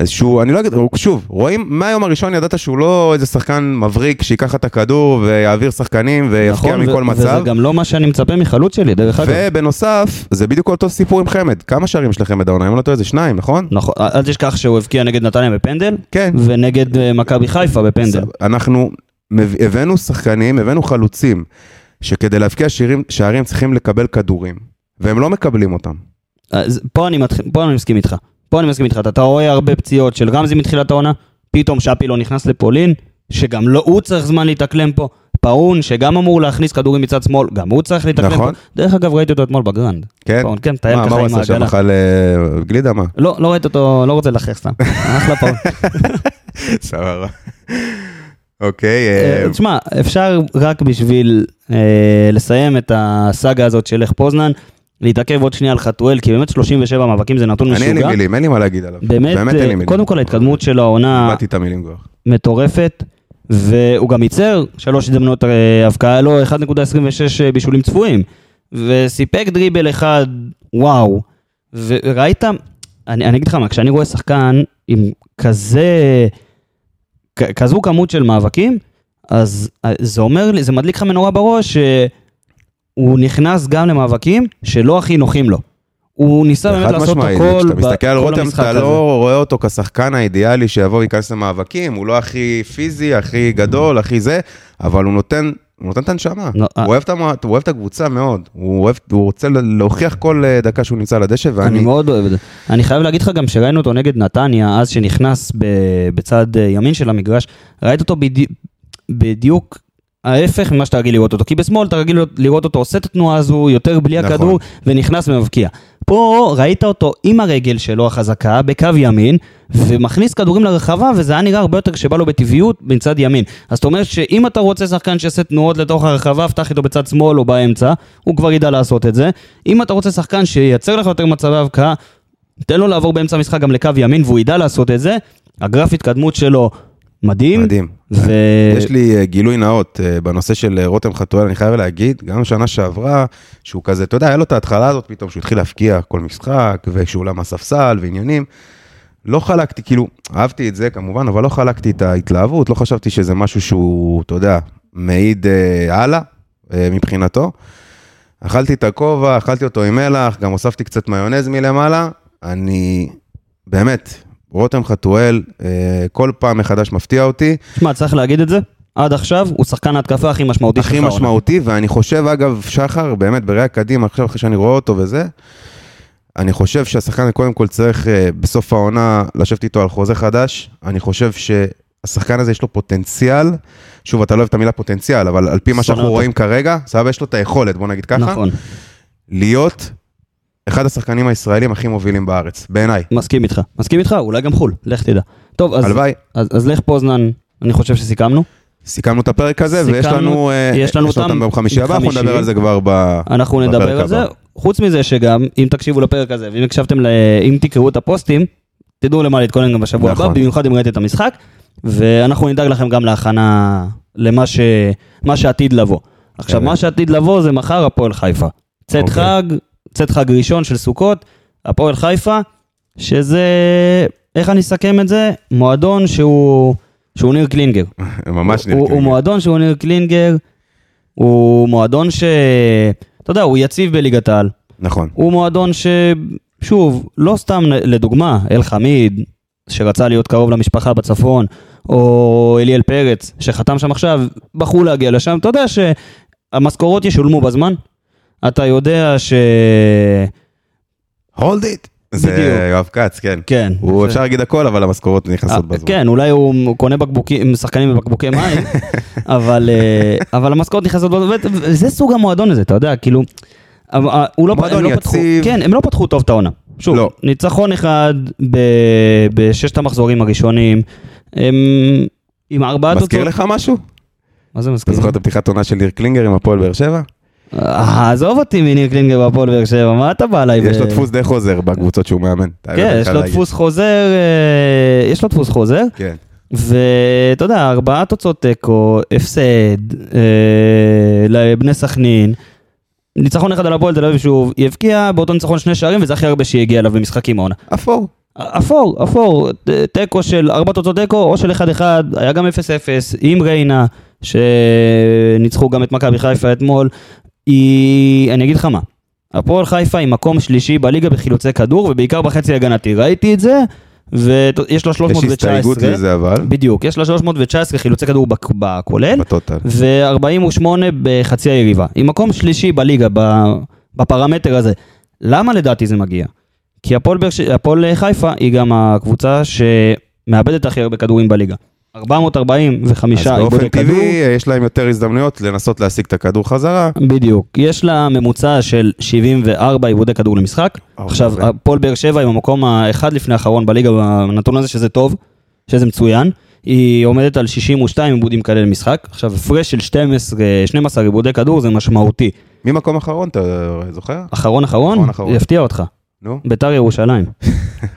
S2: שהוא, אני לא אגיד, שוב, רואים, מהיום הראשון ידעת שהוא לא איזה שחקן מבריק שייקח את הכדור ויעביר שחקנים ויפקיע
S1: נכון, ו-
S2: מכל
S1: וזה
S2: מצב.
S1: גם לא מה שאני מצפה מחלוץ שלי, דרך אגב.
S2: ובנוסף, זה בדיוק אותו סיפור עם חמד. כמה שערים יש לחמד העונה? אם אני לא טועה, זה שניים, נכון?
S1: נכון, אל תשכח שהוא הבקיע נגד נתניה בפנדל,
S2: כן.
S1: ונגד אה, מכבי חיפה בפנדל.
S2: אנחנו מב- הבאנו שחקנים, הבאנו חלוצים, שכדי להבקיע שירים, שערים צריכים לקבל כדורים, והם לא מקבלים אותם.
S1: אז אה, פה אני, מתח... פה אני מסכים איתך. פה אני מסכים איתך. אתה, אתה רואה הרבה פציעות של רמזי מתחילת העונה, פתאום שפי לא נכנס לפולין, שגם לא הוא צריך זמן להתאקלם פה. פאון, שגם אמור להכניס כדורים מצד שמאל, גם הוא צריך להתאקלם
S2: נכון.
S1: פה. דרך אגב, ראיתי אותו אתמול בגרנד.
S2: כן?
S1: פאון, כן, מטייל
S2: מה, מה
S1: ככה
S2: הוא
S1: עם
S2: עשה שם?
S1: העגלה.
S2: אכל אה, גלידה? מה?
S1: לא, לא ראיתי אותו, לא רוצה ללכלך סתם. אחלה פאון.
S2: סבבה. אוקיי, אה,
S1: אה, תשמע, אפשר רק בשביל אה, לסיים את הסאגה הזאת של איך פוזנן, להתעכב עוד שנייה על חתואל, כי באמת 37 מאבקים זה נתון
S2: אני אין לי
S1: משוגע.
S2: מילים, אין לי מה להגיד עליו.
S1: באמת,
S2: באמת אין לי
S1: אה,
S2: מילים.
S1: קודם כל ההתקדמות של העונה
S2: איבדתי את המילים כבר.
S1: מטורפת, והוא גם ייצר שלוש הזדמנויות אה, הבקעה, לא 1.26 בישולים צפויים, וסיפק דריבל אחד, וואו. וראית, אני, אני אגיד לך מה, כשאני רואה שחקן עם כזה, כ- כזו כמות של מאבקים, אז אה, זה אומר לי, זה מדליק לך מנורה בראש, שהוא נכנס גם למאבקים שלא הכי נוחים לו. הוא ניסה באמת
S2: חד
S1: לעשות
S2: משמעית,
S1: הכל,
S2: כשאתה
S1: ב-
S2: מסתכל על
S1: כל
S2: רותם,
S1: המשחק
S2: אתה
S1: הזה.
S2: לא רואה אותו כשחקן האידיאלי שיבוא וייכנס למאבקים, הוא לא הכי פיזי, הכי גדול, הכי זה, אבל הוא נותן... הוא נותן את הנשמה,
S1: לא,
S2: הוא
S1: אה.
S2: אוהב את המ- הוא אוהב את הקבוצה מאוד, הוא אוהב- הוא רוצה ל- להוכיח כל אה, דקה שהוא נמצא על הדשא,
S1: אני
S2: ואני
S1: מאוד אוהב את זה. אני חייב להגיד לך גם שראינו אותו נגד נתניה, אז שנכנס ב- בצד אה, ימין של המגרש, ראית אותו בדי- בדיוק ההפך ממה שאתה רגיל לראות אותו. כי בשמאל אתה רגיל לראות אותו עושה את התנועה הזו, יותר בלי
S2: נכון.
S1: הכדור, ונכנס ומבקיע. פה ראית אותו עם הרגל שלו החזקה, בקו ימין, ומכניס כדורים לרחבה, וזה היה נראה הרבה יותר כשבא לו בטבעיות מצד ימין. אז זאת אומרת שאם אתה רוצה שחקן שיעשה תנועות לתוך הרחבה, פתח איתו בצד שמאל או באמצע, הוא כבר ידע לעשות את זה. אם אתה רוצה שחקן שייצר לך יותר מצבי הבקעה, תן לו לעבור באמצע המשחק גם לקו ימין, והוא ידע לעשות את זה. הגרף התקדמות שלו מדהים.
S2: מדהים.
S1: ו...
S2: יש לי אה, גילוי נאות אה, בנושא של אה, רותם חתואל, אני חייב להגיד, גם שנה שעברה, שהוא כזה, אתה יודע, היה לו את ההתחלה הזאת פתאום, שהוא התחיל להפקיע כל משחק, וכשהוא עולה מהספסל ועניינים. לא חלקתי, כאילו, אהבתי את זה כמובן, אבל לא חלקתי את ההתלהבות, לא חשבתי שזה משהו שהוא, אתה יודע, מעיד אה, הלאה אה, מבחינתו. אכלתי את הכובע, אכלתי אותו עם מלח, גם הוספתי קצת מיונז מלמעלה. אני, באמת, רותם חתואל, אה, כל פעם מחדש מפתיע אותי.
S1: תשמע, צריך להגיד את זה. עד עכשיו הוא שחקן ההתקפה הכי משמעותי שלך.
S2: הכי
S1: העונה.
S2: משמעותי, ואני חושב, אגב, שחר, באמת, בראייה קדימה, עכשיו אחרי שאני רואה אותו וזה, אני חושב שהשחקן קודם כל צריך אה, בסוף העונה לשבת איתו על חוזה חדש. אני חושב שהשחקן הזה יש לו פוטנציאל, שוב, אתה לא אוהב את המילה פוטנציאל, אבל על פי מה שאנחנו
S1: שונא אותה.
S2: רואים כרגע, סבבה, יש לו את היכולת, בוא נגיד ככה,
S1: נכון,
S2: להיות אחד השחקנים הישראלים הכי מובילים בארץ, בעיניי.
S1: מסכים איתך. מסכים איתך, אולי גם חו"ל, לך תדע. טוב, אז,
S2: הלוואי.
S1: אז, אז לך פוזנן, אני חושב שסיכמנו.
S2: סיכמנו את הפרק הזה, ויש
S1: סיכמנו-
S2: לנו, אה,
S1: יש לנו אותם
S2: אותם ביום חמישי הבא, אנחנו
S1: בחמישי.
S2: נדבר על זה כבר ב...
S1: אנחנו
S2: בפרק
S1: נדבר על זה.
S2: הבא.
S1: חוץ מזה שגם, אם תקשיבו לפרק הזה, ואם הקשבתם, ל... אם תקראו את הפוסטים, תדעו למה להתכונן גם בשבוע
S2: נכון.
S1: הבא, במיוחד אם ראיתם את המשחק, ואנחנו נדאג לכם גם להכנה למה ש... מה שעתיד לבוא. עכשיו,
S2: כן.
S1: מה שעתיד לבוא זה מחר הפועל חיפה. צאת
S2: אוקיי.
S1: חג, צאת חג ראשון של סוכות, הפועל חיפה, שזה, איך אני אסכם את זה? מועדון שהוא, שהוא ניר קלינגר.
S2: ממש
S1: הוא, הוא
S2: נרגעים.
S1: מועדון שהוא ניר קלינגר, הוא מועדון ש... אתה יודע, הוא יציב בליגת העל.
S2: נכון.
S1: הוא מועדון ש... שוב, לא סתם לדוגמה, אל חמיד, שרצה להיות קרוב למשפחה בצפון, או אליאל פרץ, שחתם שם עכשיו, בחרו להגיע לשם, אתה יודע שהמשכורות ישולמו בזמן. אתה יודע ש...
S2: הולד איט. זה
S1: בדיוק.
S2: יואב כץ, כן.
S1: כן.
S2: הוא
S1: זה-
S2: אפשר להגיד הכל, אבל המשכורות נכנסות
S1: אה,
S2: בזמן.
S1: כן, אולי הוא קונה בקבוקים, שחקנים בבקבוקי מים, אבל, אה, אבל המשכורת נכנסת, בו- ו- וזה סוג המועדון הזה, אתה יודע, כאילו, אבל, אה, הוא לא,
S2: מועדון
S1: הם לא פתחו,
S2: יציב.
S1: כן, הם לא פתחו טוב את העונה. שוב,
S2: לא.
S1: ניצחון אחד ב- בששת המחזורים הראשונים, הם, עם ארבעה
S2: מזכיר לך משהו?
S1: מה זה
S2: אתה
S1: מזכיר?
S2: זוכר את הפתיחת עונה של ניר קלינגר עם הפועל באר שבע?
S1: אה, עזוב אותי מניר קלינגר והפועל באר שבע, מה אתה בא אליי?
S2: יש
S1: ב-
S2: לו דפוס די חוזר בקבוצות שהוא מאמן.
S1: אה,
S2: לא
S1: כן, יש לו דפוס חוזר, אה, יש לו דפוס חוזר.
S2: כן.
S1: ואתה יודע, ארבעה תוצאות תיקו, הפסד אה, לבני סכנין, ניצחון אחד על הפועל תל אביב שוב, היא הבקיעה באותו ניצחון שני שערים, וזה הכי הרבה שהיא הגיעה אליו במשחקים העונה.
S2: אפור.
S1: אפור, אפור, ת- תיקו של ארבע תוצאות תיקו או של 1-1, היה גם 0-0 עם ריינה, שניצחו גם את מכבי חיפה אתמול. היא, אני אגיד לך מה, הפועל חיפה היא מקום שלישי בליגה בחילוצי כדור, ובעיקר בחצי הגנתי, ראיתי את זה, ויש לה
S2: יש
S1: 319.
S2: הסתייגות לזה אבל,
S1: בדיוק, יש לה 319 חילוצי כדור בק- בכולל,
S2: בטוטל.
S1: ו-48 בחצי היריבה. היא מקום שלישי בליגה ב- בפרמטר הזה. למה לדעתי זה מגיע? כי הפועל באר ש- הפועל חיפה היא גם הקבוצה שמאבדת הכי הרבה כדורים בליגה. 445
S2: אז באופן
S1: איבודי כדור.
S2: טבעי אה, יש להם יותר הזדמנויות לנסות להשיג את הכדור חזרה.
S1: בדיוק. יש לה ממוצע של 74 עיבודי כדור למשחק.
S2: אוקיי.
S1: עכשיו, הפועל באר שבע עם המקום האחד לפני האחרון בליגה בנתון הזה, שזה טוב, שזה מצוין. היא עומדת על 62 עיבודים כאלה למשחק. עכשיו, הפרש של 12, 12 עיבודי כדור זה משמעותי.
S2: ממקום אחרון, אתה זוכר?
S1: אחרון אחרון,
S2: אחרון, אחרון.
S1: יפתיע אותך.
S2: נו,
S1: ביתר ירושלים.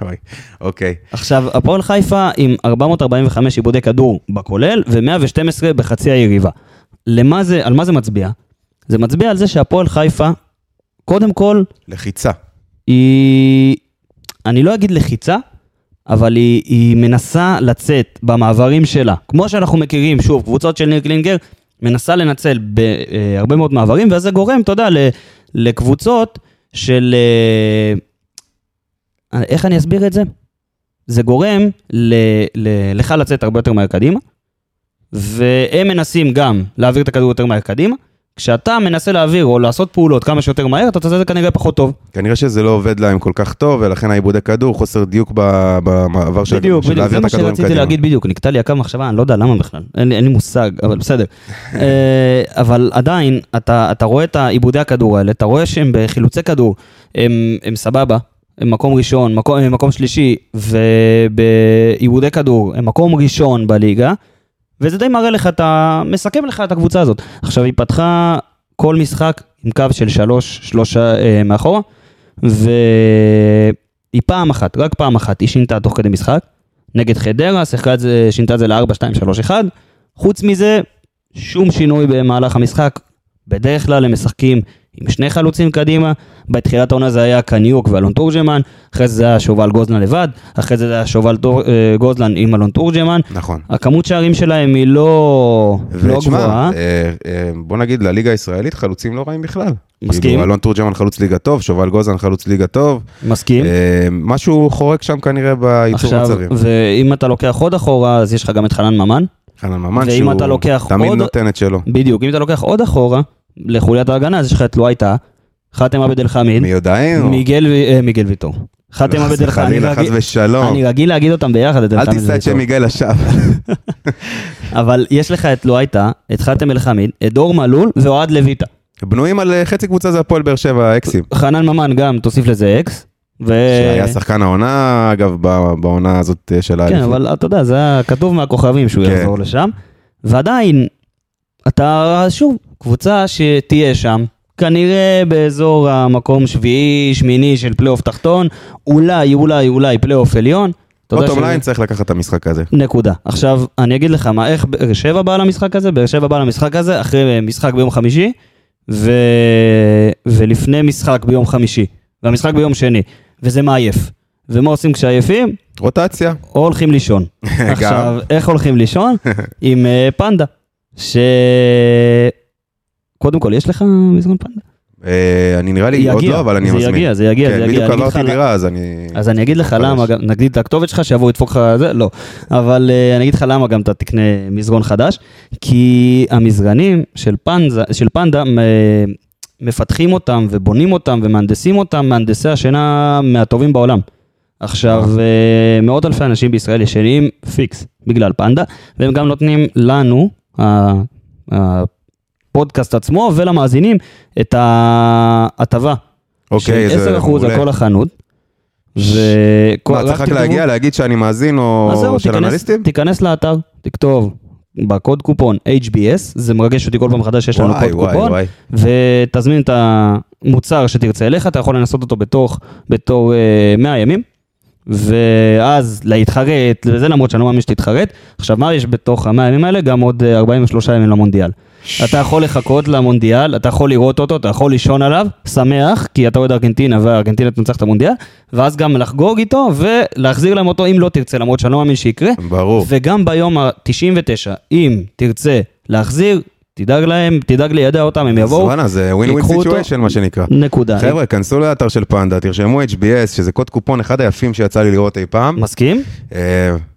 S2: אוי, אוקיי.
S1: עכשיו, הפועל חיפה עם 445 עיבודי כדור בכולל ו-112 בחצי היריבה. למה זה, על מה זה מצביע? זה מצביע על זה שהפועל חיפה, קודם כל,
S2: לחיצה.
S1: היא, אני לא אגיד לחיצה, אבל היא, היא מנסה לצאת במעברים שלה. כמו שאנחנו מכירים, שוב, קבוצות של ניר קלינגר, מנסה לנצל בהרבה מאוד מעברים, ואז זה גורם, אתה יודע, ל- לקבוצות של... אה, איך אני אסביר את זה? זה גורם ל, ל, לך לצאת הרבה יותר מהר קדימה, והם מנסים גם להעביר את הכדור יותר מהר קדימה. כשאתה מנסה להעביר או לעשות פעולות כמה שיותר מהר, אתה תעשה את זה כנראה פחות טוב.
S2: כנראה שזה לא עובד להם כל כך טוב, ולכן העיבודי כדור, חוסר דיוק ב- במעבר של
S1: בדיוק,
S2: של
S1: בדיוק, זה
S2: להעביר את
S1: מה
S2: הכדורים
S1: שרציתי
S2: קדימה.
S1: להגיד בדיוק, נקטע לי הקו מחשבה, אני לא יודע למה בכלל, אין לי- אין לי מושג, אבל בסדר. אה, אבל עדיין, אתה אתה רואה את עיבודי הכדור האלה, אתה רואה שהם בחילוצי כדור, הם הם סבבה, הם מקום ראשון, מקום- הם מקום שלישי, ובעיבודי כדור הם מקום ראשון בליגה, וזה די מראה לך, אתה מסכם לך את הקבוצה הזאת. עכשיו, היא פתחה כל משחק עם קו של שלוש, שלושה אה, מאחורה, והיא פעם אחת, רק פעם אחת, היא שינתה תוך כדי משחק. נגד חדרה, שיחקה את זה, שינתה את זה ל-4, 2, 3, 1. חוץ מזה, שום שינוי במהלך המשחק. בדרך כלל הם משחקים עם שני חלוצים קדימה, בתחילת העונה זה היה קניוק ואלון תורג'מן, אחרי זה זה היה שובל גוזלן לבד, אחרי זה זה היה שובל תור- אה, גוזלן עם אלון תורג'מן.
S2: נכון.
S1: הכמות שערים שלהם היא לא, לא
S2: ותשמע,
S1: גבוהה.
S2: אה, אה, בוא נגיד, לליגה הישראלית חלוצים לא רעים בכלל.
S1: מסכים.
S2: כאילו, אלון תורג'מן חלוץ ליגה טוב, שובל גוזן חלוץ ליגה טוב.
S1: מסכים?
S2: אה, משהו חורק שם כנראה בייצור
S1: עכשיו,
S2: מצבים.
S1: ואם אתה לוקח עוד אחורה, אז יש לך גם את חנן ממן.
S2: חנן ממן,
S1: ואם אתה
S2: שהוא
S1: לוקח
S2: תמיד
S1: עוד-
S2: נותן את שלו.
S1: בדיוק, אם אתה לוקח עוד אחורה, לחוליית ההגנה, אז יש לך את לואייטה, חתם עבד אל חמיד,
S2: מי יודעים?
S1: מיגל, ו- אה, מיגל ויטור. חתם עבד אל חמיד,
S2: חלילה, חס ושלום.
S1: אני רגיל להגיד אותם ביחד, את אל
S2: אל
S1: חמיד
S2: תישא את
S1: וויטור.
S2: שם יגאל לשווא.
S1: אבל יש לך את לואייטה, את חתם אל חמיד, את דור מלול ואוהד לויטה.
S2: בנויים על אה, חצי קבוצה זה הפועל באר שבע, האקסים.
S1: חנן ממן גם, תוסיף לזה אקס. ו...
S2: שהיה שחקן העונה, אגב, ב- בעונה הזאת אה, של
S1: כן,
S2: האליפות.
S1: אבל אתה יודע, זה היה כתוב מהכוכבים שהוא
S2: כן.
S1: יחזור לשם. ועדיין, אתה שוב, קבוצה שתהיה שם, כנראה באזור המקום שביעי, שמיני של פלייאוף תחתון, אולי, אולי, אולי פלייאוף עליון. אתה יודע
S2: אוטום
S1: ש-
S2: ליין צריך לקחת את המשחק הזה.
S1: נקודה. עכשיו, אני אגיד לך מה, איך באר שבע באה למשחק הזה? באר שבע באה למשחק הזה אחרי משחק ביום חמישי, ו... ולפני משחק ביום חמישי, והמשחק ביום שני, וזה מעייף. ומה עושים כשעייפים?
S2: רוטציה.
S1: או הולכים לישון. עכשיו, איך הולכים לישון? עם אה, פנדה. ש... קודם כל, יש לך מזמן פנדה?
S2: אה, אני נראה לי, עוד לא, אבל אני
S1: זה
S2: מזמין.
S1: יגיע, זה יגיע,
S2: כן,
S1: זה יגיע.
S2: בדיוק
S1: אני אגיד לך
S2: עברתי
S1: למה-
S2: דירה, אז אני...
S1: אז אני אגיד לך
S2: חדש.
S1: למה, גם- נגיד את הכתובת שלך, שיבואו לדפוק לך זה, לא. אבל אה, אני אגיד לך למה גם אתה תקנה מזרון חדש, כי המזרנים של פנדה, של פנדה אה, מפתחים אותם ובונים אותם ומהנדסים אותם, מהנדסי השינה מהטובים בעולם. עכשיו, אה, מאות אלפי אנשים בישראל ישנים פיקס בגלל פנדה, והם גם נותנים לנו, ה- הפודקאסט עצמו ולמאזינים, את ההטבה
S2: אוקיי,
S1: של
S2: זה
S1: 10% על
S2: מעולה.
S1: כל החנות. וכל...
S2: מה, צריך רק
S1: תכתבו-
S2: להגיע, להגיד שאני מאזין
S1: אז
S2: או
S1: זהו,
S2: של
S1: תיכנס-
S2: אנליסטים?
S1: תיכנס לאתר, תכתוב בקוד קופון HBS, זה מרגש אותי כל פעם מחדש שיש לנו
S2: וואי,
S1: קוד
S2: וואי,
S1: קופון,
S2: וואי.
S1: ותזמין את המוצר שתרצה אליך, אתה יכול לנסות אותו בתוך, בתור אה, 100 ימים. ואז להתחרט, וזה למרות שאני לא מאמין שתתחרט. עכשיו, מה יש בתוך המאה הימים האלה? גם עוד אה, 43 ימים למונדיאל. אתה יכול לחכות למונדיאל, אתה יכול לראות אותו, אתה יכול לישון עליו, שמח, כי אתה אוהד ארגנטינה וארגנטינה תנצח את המונדיאל, ואז גם לחגוג איתו ולהחזיר להם אותו אם לא תרצה, למרות שאני לא מאמין שיקרה.
S2: ברור.
S1: וגם ביום ה-99, אם תרצה להחזיר, תדאג להם, תדאג לידע אותם, הם יבואו.
S2: וואלה, זה win-win
S1: ייקחו אותו.
S2: situation, מה שנקרא.
S1: נקודה.
S2: חבר'ה, כנסו לאתר של פנדה, תרשמו HBS, שזה קוד קופון אחד היפים שיצא לי לראות אי פעם,
S1: מסכים?
S2: אה,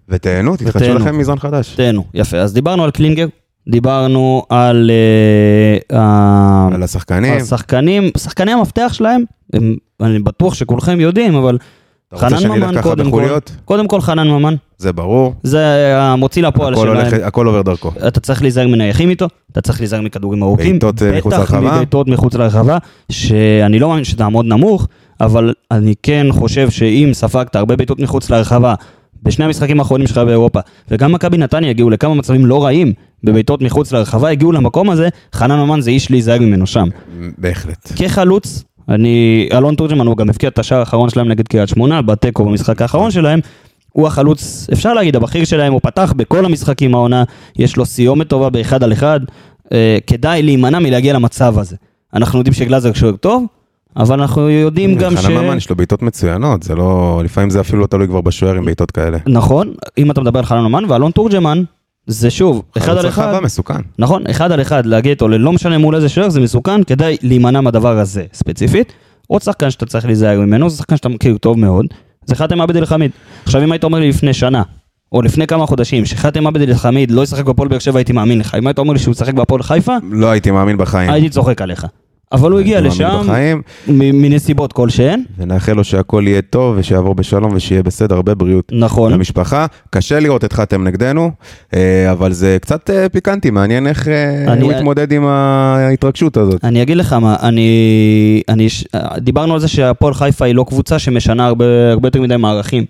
S2: ותהנו, תתחדשו
S1: ותהנו.
S2: לכם מזרן חדש.
S1: תהנו. יפה, אז דיברנו על קלינגר, דיברנו על... אה, ה-
S2: על השחקנים,
S1: השחקנים, שחקני המפתח שלהם, הם, אני בטוח שכולכם יודעים, אבל
S2: אתה רוצה
S1: חנן
S2: שאני אלך
S1: ממן
S2: ככה
S1: קודם כל,
S2: בחוליות?
S1: קודם כל חנן ממן,
S2: זה ברור,
S1: זה המוציא לפועל
S2: הכל
S1: שלהם.
S2: הולך- הכל עובר דרכו.
S1: אתה צריך להיזהר מנייחים איתו, אתה צריך להיזהר מכדורים ארוכים.
S2: בעיטות, אה, מחוץ לרחבה.
S1: בטח מבעיטות מחוץ לרחבה, שאני לא מאמין שתעמוד נמוך, אבל אני כן חושב שאם ספגת הרבה בעיטות מחוץ לרחבה, בשני המשחקים האחרונים שלך באירופה, וגם מכבי נתניה הגיעו לכמה מצבים לא רעים בבעיטות מחוץ לרחבה, הגיעו למקום הזה, חנן ממן זה איש להיזהר ממנו שם.
S2: בהחלט.
S1: כחלוץ, אני, אלון תורג'מן הוא גם הבקיע את השער האחרון שלהם נגד קריית שמונה, בתיקו במשחק האחרון שלהם. הוא החלוץ, אפשר להגיד, הבכיר שלהם, הוא פתח בכל המשחקים העונה, יש לו סיומת טובה באחד על אחד. אה, כדאי להימנע מלהגיע למצב הזה. אנחנו יודעים שגלאזר שוער טוב, אבל אנחנו יודעים גם ש...
S2: חנן ממן יש לו בעיטות מצוינות, זה לא, לפעמים זה אפילו לא תלוי כבר בשוער עם בעיטות כאלה.
S1: נכון, אם אתה מדבר על חנן ממן, ואלון תורג'מן, זה שוב, אחד
S2: חלוץ
S1: על אחד.
S2: רחבה מסוכן.
S1: נכון, אחד על אחד להגיע איתו ללא משנה מול איזה שוער זה מסוכן, כדאי להימנע מהדבר הזה ספציפית. עוד שחקן שאתה צריך להיזהר ממנו, זה שחקן שאתה מכיר טוב מאוד, זה חאתם עבד אל חמיד. עכשיו אם היית אומר לי לפני שנה, או לפני כמה חודשים, שחאתם עבד אל חמיד לא ישחק בהפועל באר שבע הייתי מאמין לך, אם היית אומר לי שהוא ישחק בהפועל חיפה,
S2: לא הייתי מאמין בחיים.
S1: הייתי צוחק עליך. אבל הוא הגיע
S2: הייתי
S1: לשם,
S2: מאמין בחיים,
S1: מ- מנסיבות כלשהן,
S2: ונאחל לו שהכל יהיה טוב, ושיעבור בשלום, ושיהיה בסדר, הרבה בריאות.
S1: נכון.
S2: למשפחה, קשה לראות את חתם נגדנו, אה, אבל זה קצת אה, פיקנטי, מעניין איך אה,
S1: אני- אה.
S2: הוא התמודד עם ההתרגשות הזאת.
S1: אני אגיד לך מה, אני, אני, ש- דיברנו על זה שהפועל חיפה היא לא קבוצה שמשנה הרבה, הרבה יותר מדי מערכים.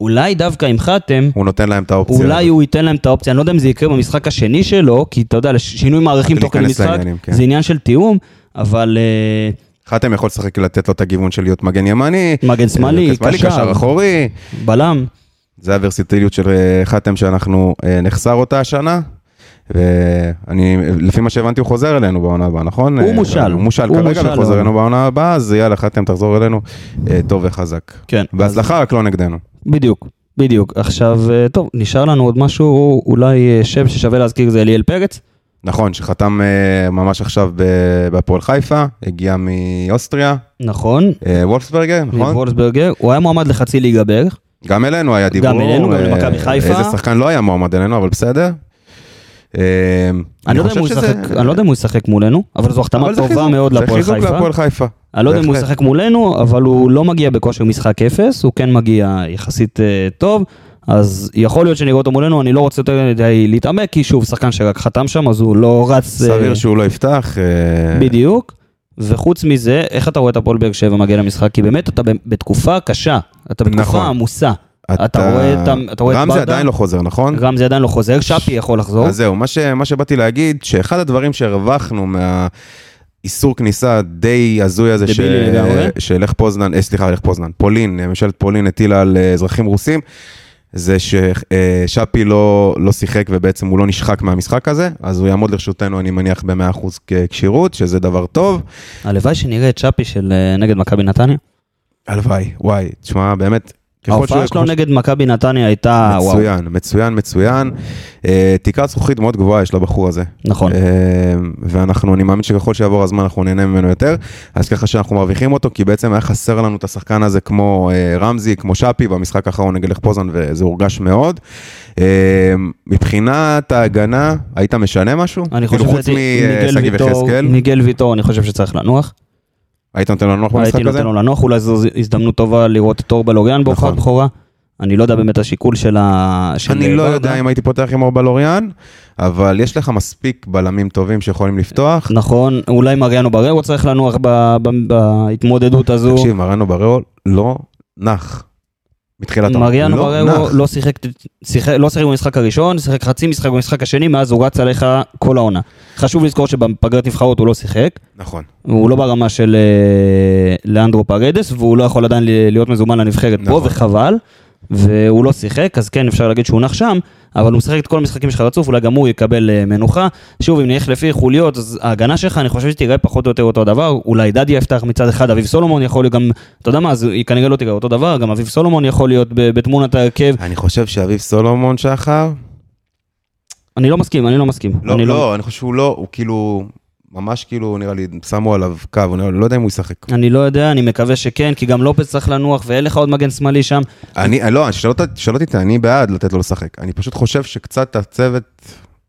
S1: אולי דווקא עם חתם,
S2: הוא נותן להם את האופציה.
S1: אולי
S2: הזאת.
S1: הוא ייתן להם את האופציה, אני לא יודע אם זה יקרה במשחק השני שלו, כי אתה יודע, לש- שינוי מערכים תוך כדי
S2: להיכנס
S1: משחק,
S2: לעניינים, כן.
S1: זה עניין של תיאום, אבל אה,
S2: חתם יכול לשחק לתת לו את הגיוון של להיות מגן ימני.
S1: מגן שמאלי,
S2: אה,
S1: קשר.
S2: קשר אחורי.
S1: בלם,
S2: זה הוורסיטיליות של אה, חתם שאנחנו אה, נחסר אותה השנה. ואני, לפי מה שהבנתי, הוא חוזר אלינו בעונה הבאה, נכון?
S1: הוא
S2: אה,
S1: מושל.
S2: הוא מושל
S1: הוא
S2: כרגע
S1: מושל
S2: וחוזר
S1: לעונה.
S2: אלינו בעונה הבאה, אז יאללה, חתם, תחזור אלינו אה, טוב וחזק.
S1: כן.
S2: בהצלחה, רק לא נגדנו.
S1: בדיוק, בדיוק. עכשיו, אה, טוב, נשאר לנו עוד משהו, אולי אה, שם ששווה להזכיר זה אליאל פרץ,
S2: נכון, שחתם אה, ממש עכשיו ב- בהפועל חיפה, הגיע מאוסטריה,
S1: נכון,
S2: אה, וולפסברגר, נכון?
S1: מוולסברגר, הוא היה מועמד לחצי ליגה בערך,
S2: גם אלינו היה דיבור.
S1: אלינו, גם
S2: אה,
S1: למכבי חיפה.
S2: איזה שחקן לא היה מועמד אלינו, אבל בסדר. אה,
S1: אני לא יודע אם
S2: חושב
S1: הוא
S2: שזה-
S1: ישחק- אני לא יודע אם הוא ישחק מולנו, אבל זו החתמה
S2: אבל זה
S1: טובה
S2: חיזוק,
S1: מאוד לפועל
S2: זה חיזוק
S1: חיפה.
S2: להפועל חיפה.
S1: אני לא יודע אם הוא
S2: בהחלט.
S1: ישחק מולנו, אבל הוא לא מגיע בכושר משחק אפס, הוא כן מגיע יחסית אה, טוב, אז יכול להיות שנראה אותו מולנו, אני לא רוצה יותר מדי להתעמק, כי שוב, שחקן שרק חתם שם, אז הוא לא רץ... אה,
S2: סביר שהוא לא יפתח. אה,
S1: בדיוק. וחוץ מזה, איך אתה רואה את הפועל באר שבע מגיע למשחק? כי באמת אתה ב- בתקופה קשה, אתה בתקופה
S2: נכון.
S1: עמוסה. אתה רואה את ה- אתה רואה את
S2: רמזי
S1: ברדה?
S2: עדיין לא חוזר, נכון?
S1: רמזי עדיין לא חוזר, שפי יכול לחזור.
S2: אז זהו, מה, ש, מה שבאתי להגיד, שאחד הדברים שהרווחנו מה... איסור כניסה די הזוי הזה ש...
S1: דבילי לגמרי.
S2: שלך פוזנן, אה, סליחה, לך פוזנן, פולין, אה, ממשלת פולין הטילה על אה, אזרחים רוסים, זה ששאפי לא, לא שיחק ובעצם הוא לא נשחק מהמשחק הזה, אז הוא יעמוד לרשותנו, אני מניח, ב-100% כשירות, שזה דבר טוב.
S1: הלוואי שנראה את שפי של אה, נגד מכבי נתניה.
S2: הלוואי, וואי, תשמע, באמת, ככל שהוא-
S1: ההופעה שלו
S2: ככל
S1: נגד מכבי נתניה הייתה... וואו.
S2: מצוין, מצוין, מצוין. אה, תקרת זכוכית מאוד גבוהה יש לבחור הזה.
S1: נכון.
S2: אה, ואנחנו, אני מאמין שככל שיעבור הזמן אנחנו נהנה ממנו יותר, אז ככה שאנחנו מרוויחים אותו, כי בעצם היה חסר לנו את השחקן הזה כמו אה, רמזי, כמו שפי, במשחק האחרון נגד לך פוזן, וזה הורגש מאוד. אה, מבחינת ההגנה, היית משנה משהו?
S1: אני חושב
S2: כאילו חוץ
S1: שהייתי- מיגל
S2: משגיא
S1: ויטור-
S2: ויחזקאל,
S1: מיגל ויטור, אני חושב שצריך לנוח.
S2: היית נותן לנו לנוח
S1: הייתי
S2: במשחק הזה?
S1: נותן לו לנוח, אולי זו הזדמנות טובה לראות את אורבל אוריאן באורחת
S2: נכון.
S1: בכורה. אני לא יודע באמת השיקול של ה... של
S2: אני לא
S1: ברדה.
S2: יודע אם הייתי פותח עם אורבל אוריאן, אבל יש לך מספיק בלמים טובים שיכולים לפתוח.
S1: נכון, אולי מריאנו בררו צריך לנוח ב- ב- בהתמודדות הזו.
S2: תקשיב, מרנו בריאו לא נח. מתחילת העונה.
S1: מריאנו
S2: לא
S1: בררו
S2: נח.
S1: לא שיחק שיחק- לא שיחק במשחק הראשון, שיחק חצי משחק במשחק השני, מאז הוא רץ עליך כל העונה. חשוב לזכור שבפגרת נבחרות הוא לא שיחק,
S2: נכון,
S1: הוא לא ברמה של אה, לאנדרו פרדס, והוא לא יכול עדיין ל- להיות מזומן לנבחרת פה,
S2: נכון.
S1: וחבל. והוא לא שיחק, אז כן, אפשר להגיד שהוא נח שם, אבל הוא משחק את כל המשחקים שלך רצוף, אולי גם הוא יקבל אה, מנוחה. שוב, אם נלך לפי חוליות, אז ההגנה שלך, אני חושב שתיראה פחות או יותר אותו הדבר. אולי דדיה יפתח מצד אחד, אביב סולומון יכול להיות גם, אתה יודע מה, אז היא כנראה לא תיראה אותו דבר, גם אביב סולומון יכול להיות ב- בתמונת ההרכב.
S2: אני חושב שאביב סולומון שחר...
S1: אני לא מסכים, אני לא מסכים.
S2: לא,
S1: אני
S2: לא, לא, אני חושב שהוא לא, הוא כאילו... ממש כאילו, נראה לי, שמו עליו קו, אני לא- לא יודע אם הוא ישחק.
S1: אני לא יודע, אני מקווה שכן, כי גם לופס צריך לנוח, ואין לך עוד מגן שמאלי שם.
S2: אני, לא, שלא ת- שלא תטעה, אני בעד לתת לו לשחק. אני פשוט חושב שקצת הצוות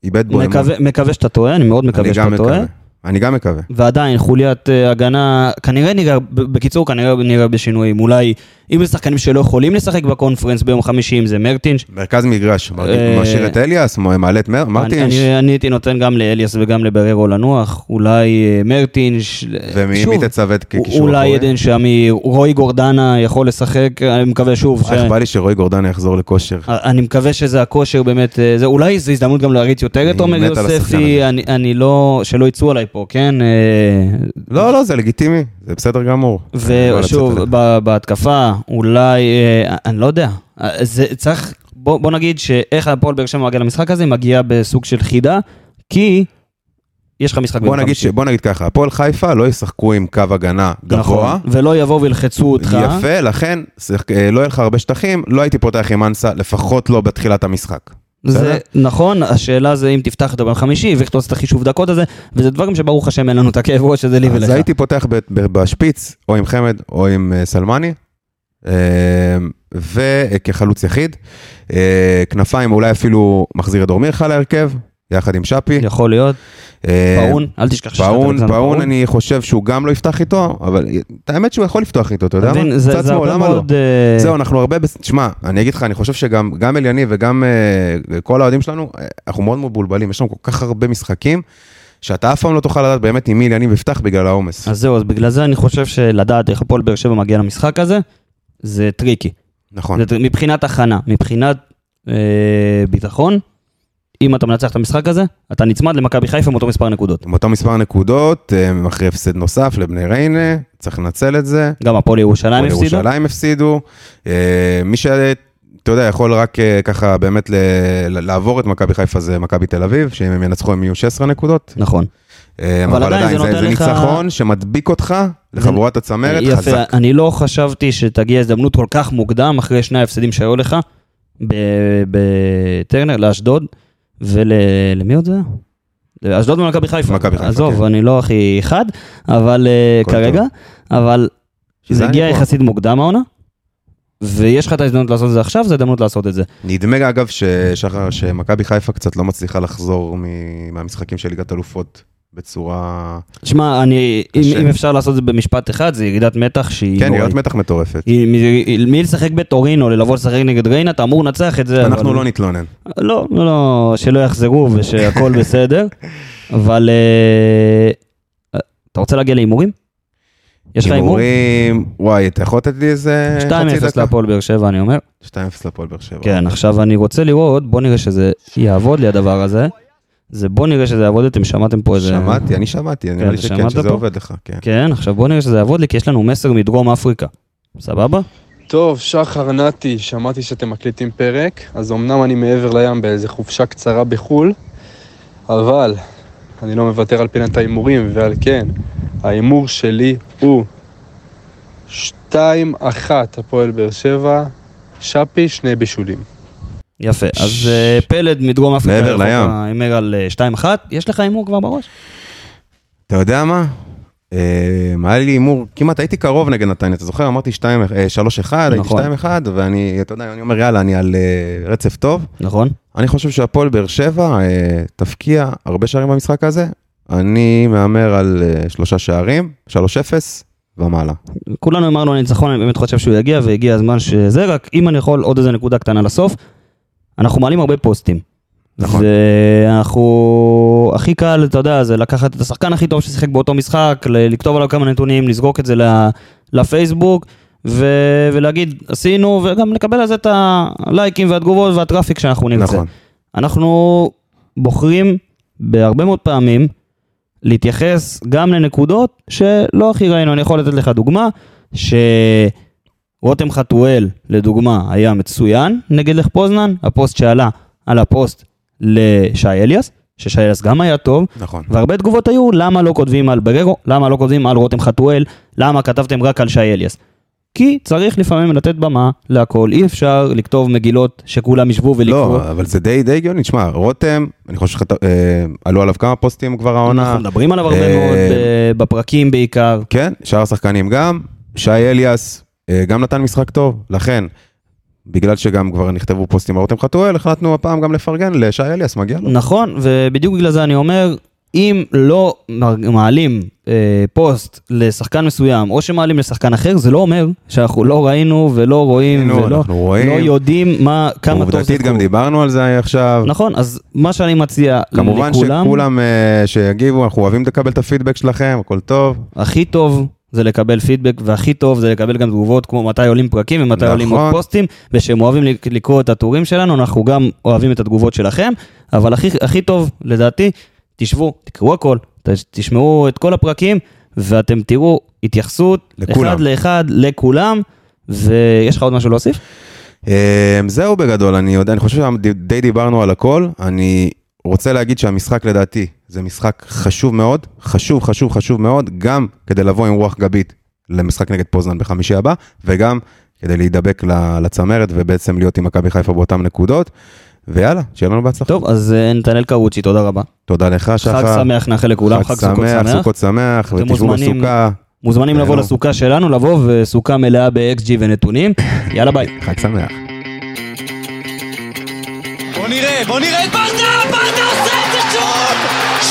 S2: איבד בו אמון.
S1: מקווה- מקווה שאתה טועה, אני מאוד
S2: אני
S1: מקווה
S2: גם
S1: שאתה טועה.
S2: מקווה. אני גם מקווה.
S1: ועדיין חוליית אה, הגנה, כנראה נראה, ב- בקיצור, כנראה נראה בשינויים. אולי, אם זה שחקנים שלא יכולים לשחק בקונפרנס ביום חמישי, אם זה מרטינש,
S2: מרכז מגרש,
S1: אה,
S2: משאיר את אליאס, מעלה את מר-
S1: אני,
S2: מרטינש,
S1: אני, אני הייתי נותן גם לאליאס וגם לבררו לנוח, אולי אה, מרטינש,
S2: ומי מי תצוות כקישור
S1: אולי
S2: אחורי?
S1: עדן שמיר, רוי גורדנה יכול לשחק, אני מקווה שוב, ש...
S2: אה,
S1: אה,
S2: איך בא לי שרועי גורדנה יחזור לכושר.
S1: אני מקווה שזה הכושר באמת, אה, זה, אולי זו הזדמנות גם להריץ יותר את
S2: אני
S1: עומר
S2: מת על השחקן
S1: יוספי,
S2: הזה.
S1: אני, אני לא, שלא יצאו עליי פה, כן? אה,
S2: לא, לא, זה לגיטימי, זה בסדר גמור. לא לצאת
S1: ושוב,
S2: עליך.
S1: ב- בהתקפה, אולי, אה, אני לא יודע, אה, זה צריך, בוא, בוא נגיד שאיך הפועל באר שבע מגיע למשחק הזה, היא מגיעה בסוג של חידה, כי יש לך משחק
S2: בוא נגיד ש- בוא נגיד ככה, הפועל חיפה לא ישחקו עם קו הגנה
S1: נכון,
S2: גבוה.
S1: ולא יבואו וילחצו אותך.
S2: יפה, לכן שחק- אה, לא יהיה לך הרבה שטחים, לא הייתי פותח עם אנסה, לפחות לא בתחילת המשחק.
S1: זה
S2: בסדר?
S1: נכון, השאלה זה אם תפתח אותו ביום חמישי, ואיך אתה עושה את החישוב דקות הזה, וזה דברים שברוך השם אין לנו את הכאב ראש הזה לי ולך.
S2: אז הייתי פותח ב- ב- בשפיץ, או עם חמד, או עם אה, סלמני, אה, וכחלוץ יחיד. אה, כנפיים אולי אפילו מחזיר את דור מיכה להרכב, יחד עם שפי.
S1: יכול להיות,
S2: אה,
S1: פאון, אל תשכח שיש לך את
S2: פאון,
S1: אלכסנדר
S2: פאון, אני חושב שהוא גם לא יפתח איתו, אבל את האמת שהוא יכול לפתוח איתו, אתה יודע
S1: אתה
S2: מה?
S1: מבין, זה-
S2: צד
S1: זה
S2: שמאל,
S1: הרבה
S2: למה לא?
S1: מאוד, אה,
S2: זהו, אנחנו הרבה, בס- תשמע, אני אגיד לך, אני חושב שגם גם אליני וגם אה, כל האוהדים שלנו, אה, אנחנו מאוד מבולבלים, יש לנו כל כך הרבה משחקים, שאתה אף פעם לא תוכל לדעת באמת עם מי אליני יפתח בגלל העומס.
S1: אז זהו, אז בגלל זה אני חושב שלדעת איך הפועל באר שבע מגיע למשחק הזה, זה טריקי.
S2: נכון.
S1: זה טר- מבחינת הכנה, מבחינת אה, ביטחון, אם אתה מנצח את המשחק הזה, אתה נצמד למכבי חיפה עם אותו מספר נקודות.
S2: עם אותו מספר נקודות, אה, אחרי הפסד נוסף לבני ריינה, צריך לנצל את זה.
S1: גם הפועל ירושלים
S2: הפועל
S1: הפסידו.
S2: ירושלים הפסידו. אה, מי ש... אתה יודע, יכול רק אה, ככה באמת ל... ל- לעבור את מכבי חיפה זה מכבי תל אביב, שאם הם ינצחו הם יהיו 16 נקודות.
S1: נכון.
S2: אה,
S1: אבל עדיין זה נותן
S2: זה
S1: לך-
S2: ניצחון שמדביק אותך לחבורת הצמרת
S1: יפה,
S2: חזק.
S1: אני לא חשבתי שתגיע הזדמנות כל כך מוקדם אחרי שני ההפסדים שהיו לך ב- בטרנר, לאשדוד, ולמי עוד זה? היה? אשדוד ומכבי חיפה.
S2: מכבי חיפה,
S1: עזוב,
S2: כן.
S1: אני לא הכי חד, אבל אה,
S2: הכל
S1: כרגע, אבל
S2: שזה
S1: זה הגיע
S2: הניצחון.
S1: יחסית מוקדם העונה, ויש לך את ההזדמנות לעשות את זה עכשיו, זו הזדמנות לעשות את זה.
S2: נדמה אגב ששחר, שמכבי חיפה קצת לא מצליחה לחזור מ- מהמשחקים של ליגת אלופות בצורה...
S1: שמע, אני, אם,
S2: קשה.
S1: אם אפשר לעשות את זה במשפט אחד, זה ירידת מתח שהיא
S2: כן,
S1: נוראית.
S2: נראית מתח מטורפת.
S1: היא- מ- מי לשחק בטורינו, ללבוא לשחק נגד ריינה, אתה אמור לנצח את זה.
S2: אנחנו
S1: אבל-
S2: לא נתלונן.
S1: לא, לא, לא, שלא יחזרו ושהכול בסדר, אבל אה, אתה רוצה להגיע להימורים? יש לך הימור?
S2: הימורים, וואי, אתה יכול לתת לי איזה
S1: 2-0
S2: חצי דקה?
S1: להפועל באר שבע, אני אומר.
S2: 2-0 לפועל באר שבע.
S1: כן, עכשיו אני רוצה לראות, בוא נראה שזה יעבוד לי הדבר הזה. זה בוא נראה שזה יעבוד, אתם שמעתם פה איזה...
S2: שמעתי, אני שמעתי, נראה לי
S1: כן, אתה
S2: שכן,
S1: שמעת
S2: שזה
S1: פה?
S2: עובד לך, כן.
S1: כן, עכשיו בוא נראה שזה יעבוד לי, כי יש לנו מסר מדרום אפריקה. סבבה?
S5: טוב, שחר נתי, שמעתי שאתם מקליטים פרק, אז אמנם אני מעבר לים באיזה חופשה קצרה בחו"ל, אבל אני לא מוותר על פינת ההימורים, ועל כן, ההימור שלי הוא 2-1 הפועל באר שבע, שפי, שני בישולים.
S1: יפה, אז אה, פלד מדרום אפריקה.
S2: מעבר לים.
S1: הימר על אה, 2-1, יש לך הימור כבר בראש?
S2: אתה יודע מה? אה, היה לי הימור, כמעט הייתי קרוב נגד נתניה, אתה זוכר? אמרתי 2, אה, 3-1, הייתי
S1: נכון.
S2: 2-1, ואני, אתה יודע, אני אומר, יאללה, אני על אה, רצף טוב.
S1: נכון?
S2: אני חושב שהפועל באר שבע אה, תפקיע הרבה שערים במשחק הזה. אני מהמר על אה, שלושה שערים, 3-0 ומעלה.
S1: כולנו אמרנו על הניצחון, אני באמת חושב שהוא יגיע, והגיע הזמן שזה, רק אם אני יכול עוד איזה נקודה קטנה לסוף, אנחנו מעלים הרבה פוסטים.
S2: נכון.
S1: ואנחנו, הכי קל, אתה יודע, זה לקחת את השחקן הכי טוב ששיחק באותו משחק, ל- לכתוב עליו כמה נתונים, לזרוק את זה ל- לפייסבוק, ו... ולהגיד, עשינו, וגם לקבל על זה את הלייקים והתגובות והטראפיק שאנחנו נרצה.
S2: נכון.
S1: אנחנו בוחרים בהרבה מאוד פעמים להתייחס גם לנקודות שלא הכי ראינו. אני יכול לתת לך דוגמה, שרותם חתואל, לדוגמה, היה מצוין נגד לך פוזנן, הפוסט שעלה על הפוסט לשי אליאס, ששי אליאס גם היה טוב,
S2: נכון.
S1: והרבה תגובות היו למה לא כותבים על בררו, למה לא כותבים על רותם חתואל, למה כתבתם רק על שי אליאס. כי צריך לפעמים לתת במה להכל, אי אפשר לכתוב מגילות שכולם ישבו ולקרוא.
S2: לא, אבל זה די די הגיוני. תשמע, רותם, אני חושב שעלו עליו כמה פוסטים כבר העונה.
S1: אנחנו מדברים עליו הרבה
S2: אה,
S1: מאוד ב- בפרקים בעיקר.
S2: כן, שאר השחקנים גם. שי אליאס אה, גם נתן משחק טוב, לכן, בגלל שגם כבר נכתבו פוסטים על רותם חתואל, החלטנו הפעם גם לפרגן לשי אליאס, מגיע לו.
S1: נכון, ובדיוק בגלל זה אני אומר, אם לא מעלים אה, פוסט לשחקן מסוים, או שמעלים לשחקן אחר, זה לא אומר שאנחנו לא ראינו ולא רואים
S2: ראינו,
S1: ולא
S2: אנחנו רואים.
S1: לא יודעים מה, כמה טוב זה
S2: עובדתית גם דיברנו על זה עכשיו.
S1: נכון, אז מה שאני מציע
S2: כמובן
S1: לכולם,
S2: שכולם אה, שיגיבו, אנחנו אוהבים לקבל את הפידבק שלכם, הכל טוב.
S1: הכי טוב זה לקבל פידבק, והכי טוב זה לקבל גם תגובות כמו מתי עולים פרקים ומתי
S2: נכון.
S1: עולים עוד פוסטים, ושהם אוהבים לק- לקרוא את הטורים שלנו, אנחנו גם אוהבים את התגובות שלכם, אבל הכי, הכי טוב, לדעתי, תשבו, תקראו הכל, ת, תשמעו את כל הפרקים, ואתם תראו התייחסות,
S2: לכולם.
S1: אחד לאחד, לכולם, ויש לך עוד משהו להוסיף?
S2: אה, זהו בגדול, אני יודע, אני חושב שדי דיברנו על הכל. אני רוצה להגיד שהמשחק לדעתי זה משחק חשוב מאוד, חשוב, חשוב, חשוב מאוד, גם כדי לבוא עם רוח גבית למשחק נגד פוזנן בחמישי הבא, וגם כדי להידבק ל- לצמרת ובעצם להיות עם מכבי חיפה באותן נקודות. ויאללה, שיהיה לנו בהצלחה.
S1: טוב, אז אה, נתנאל קרוצ'י, תודה רבה.
S2: תודה לך, שחר.
S1: חג שמח, נאחל לכולם, חג סוכות שמח.
S2: סוכות שמח,
S1: אתם
S2: ותשבו
S1: מוזמנים.
S2: בסוכה.
S1: מוזמנים לבוא
S2: תהנו.
S1: לסוכה שלנו, לבוא וסוכה מלאה ב-XG ונתונים. יאללה ביי.
S2: חג שמח.
S3: בוא נראה, בוא נראה את ברדה, ברדה עושה את זה שוב!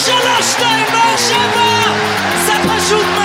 S3: שלוש, שתיים, באר שבע! זה פשוט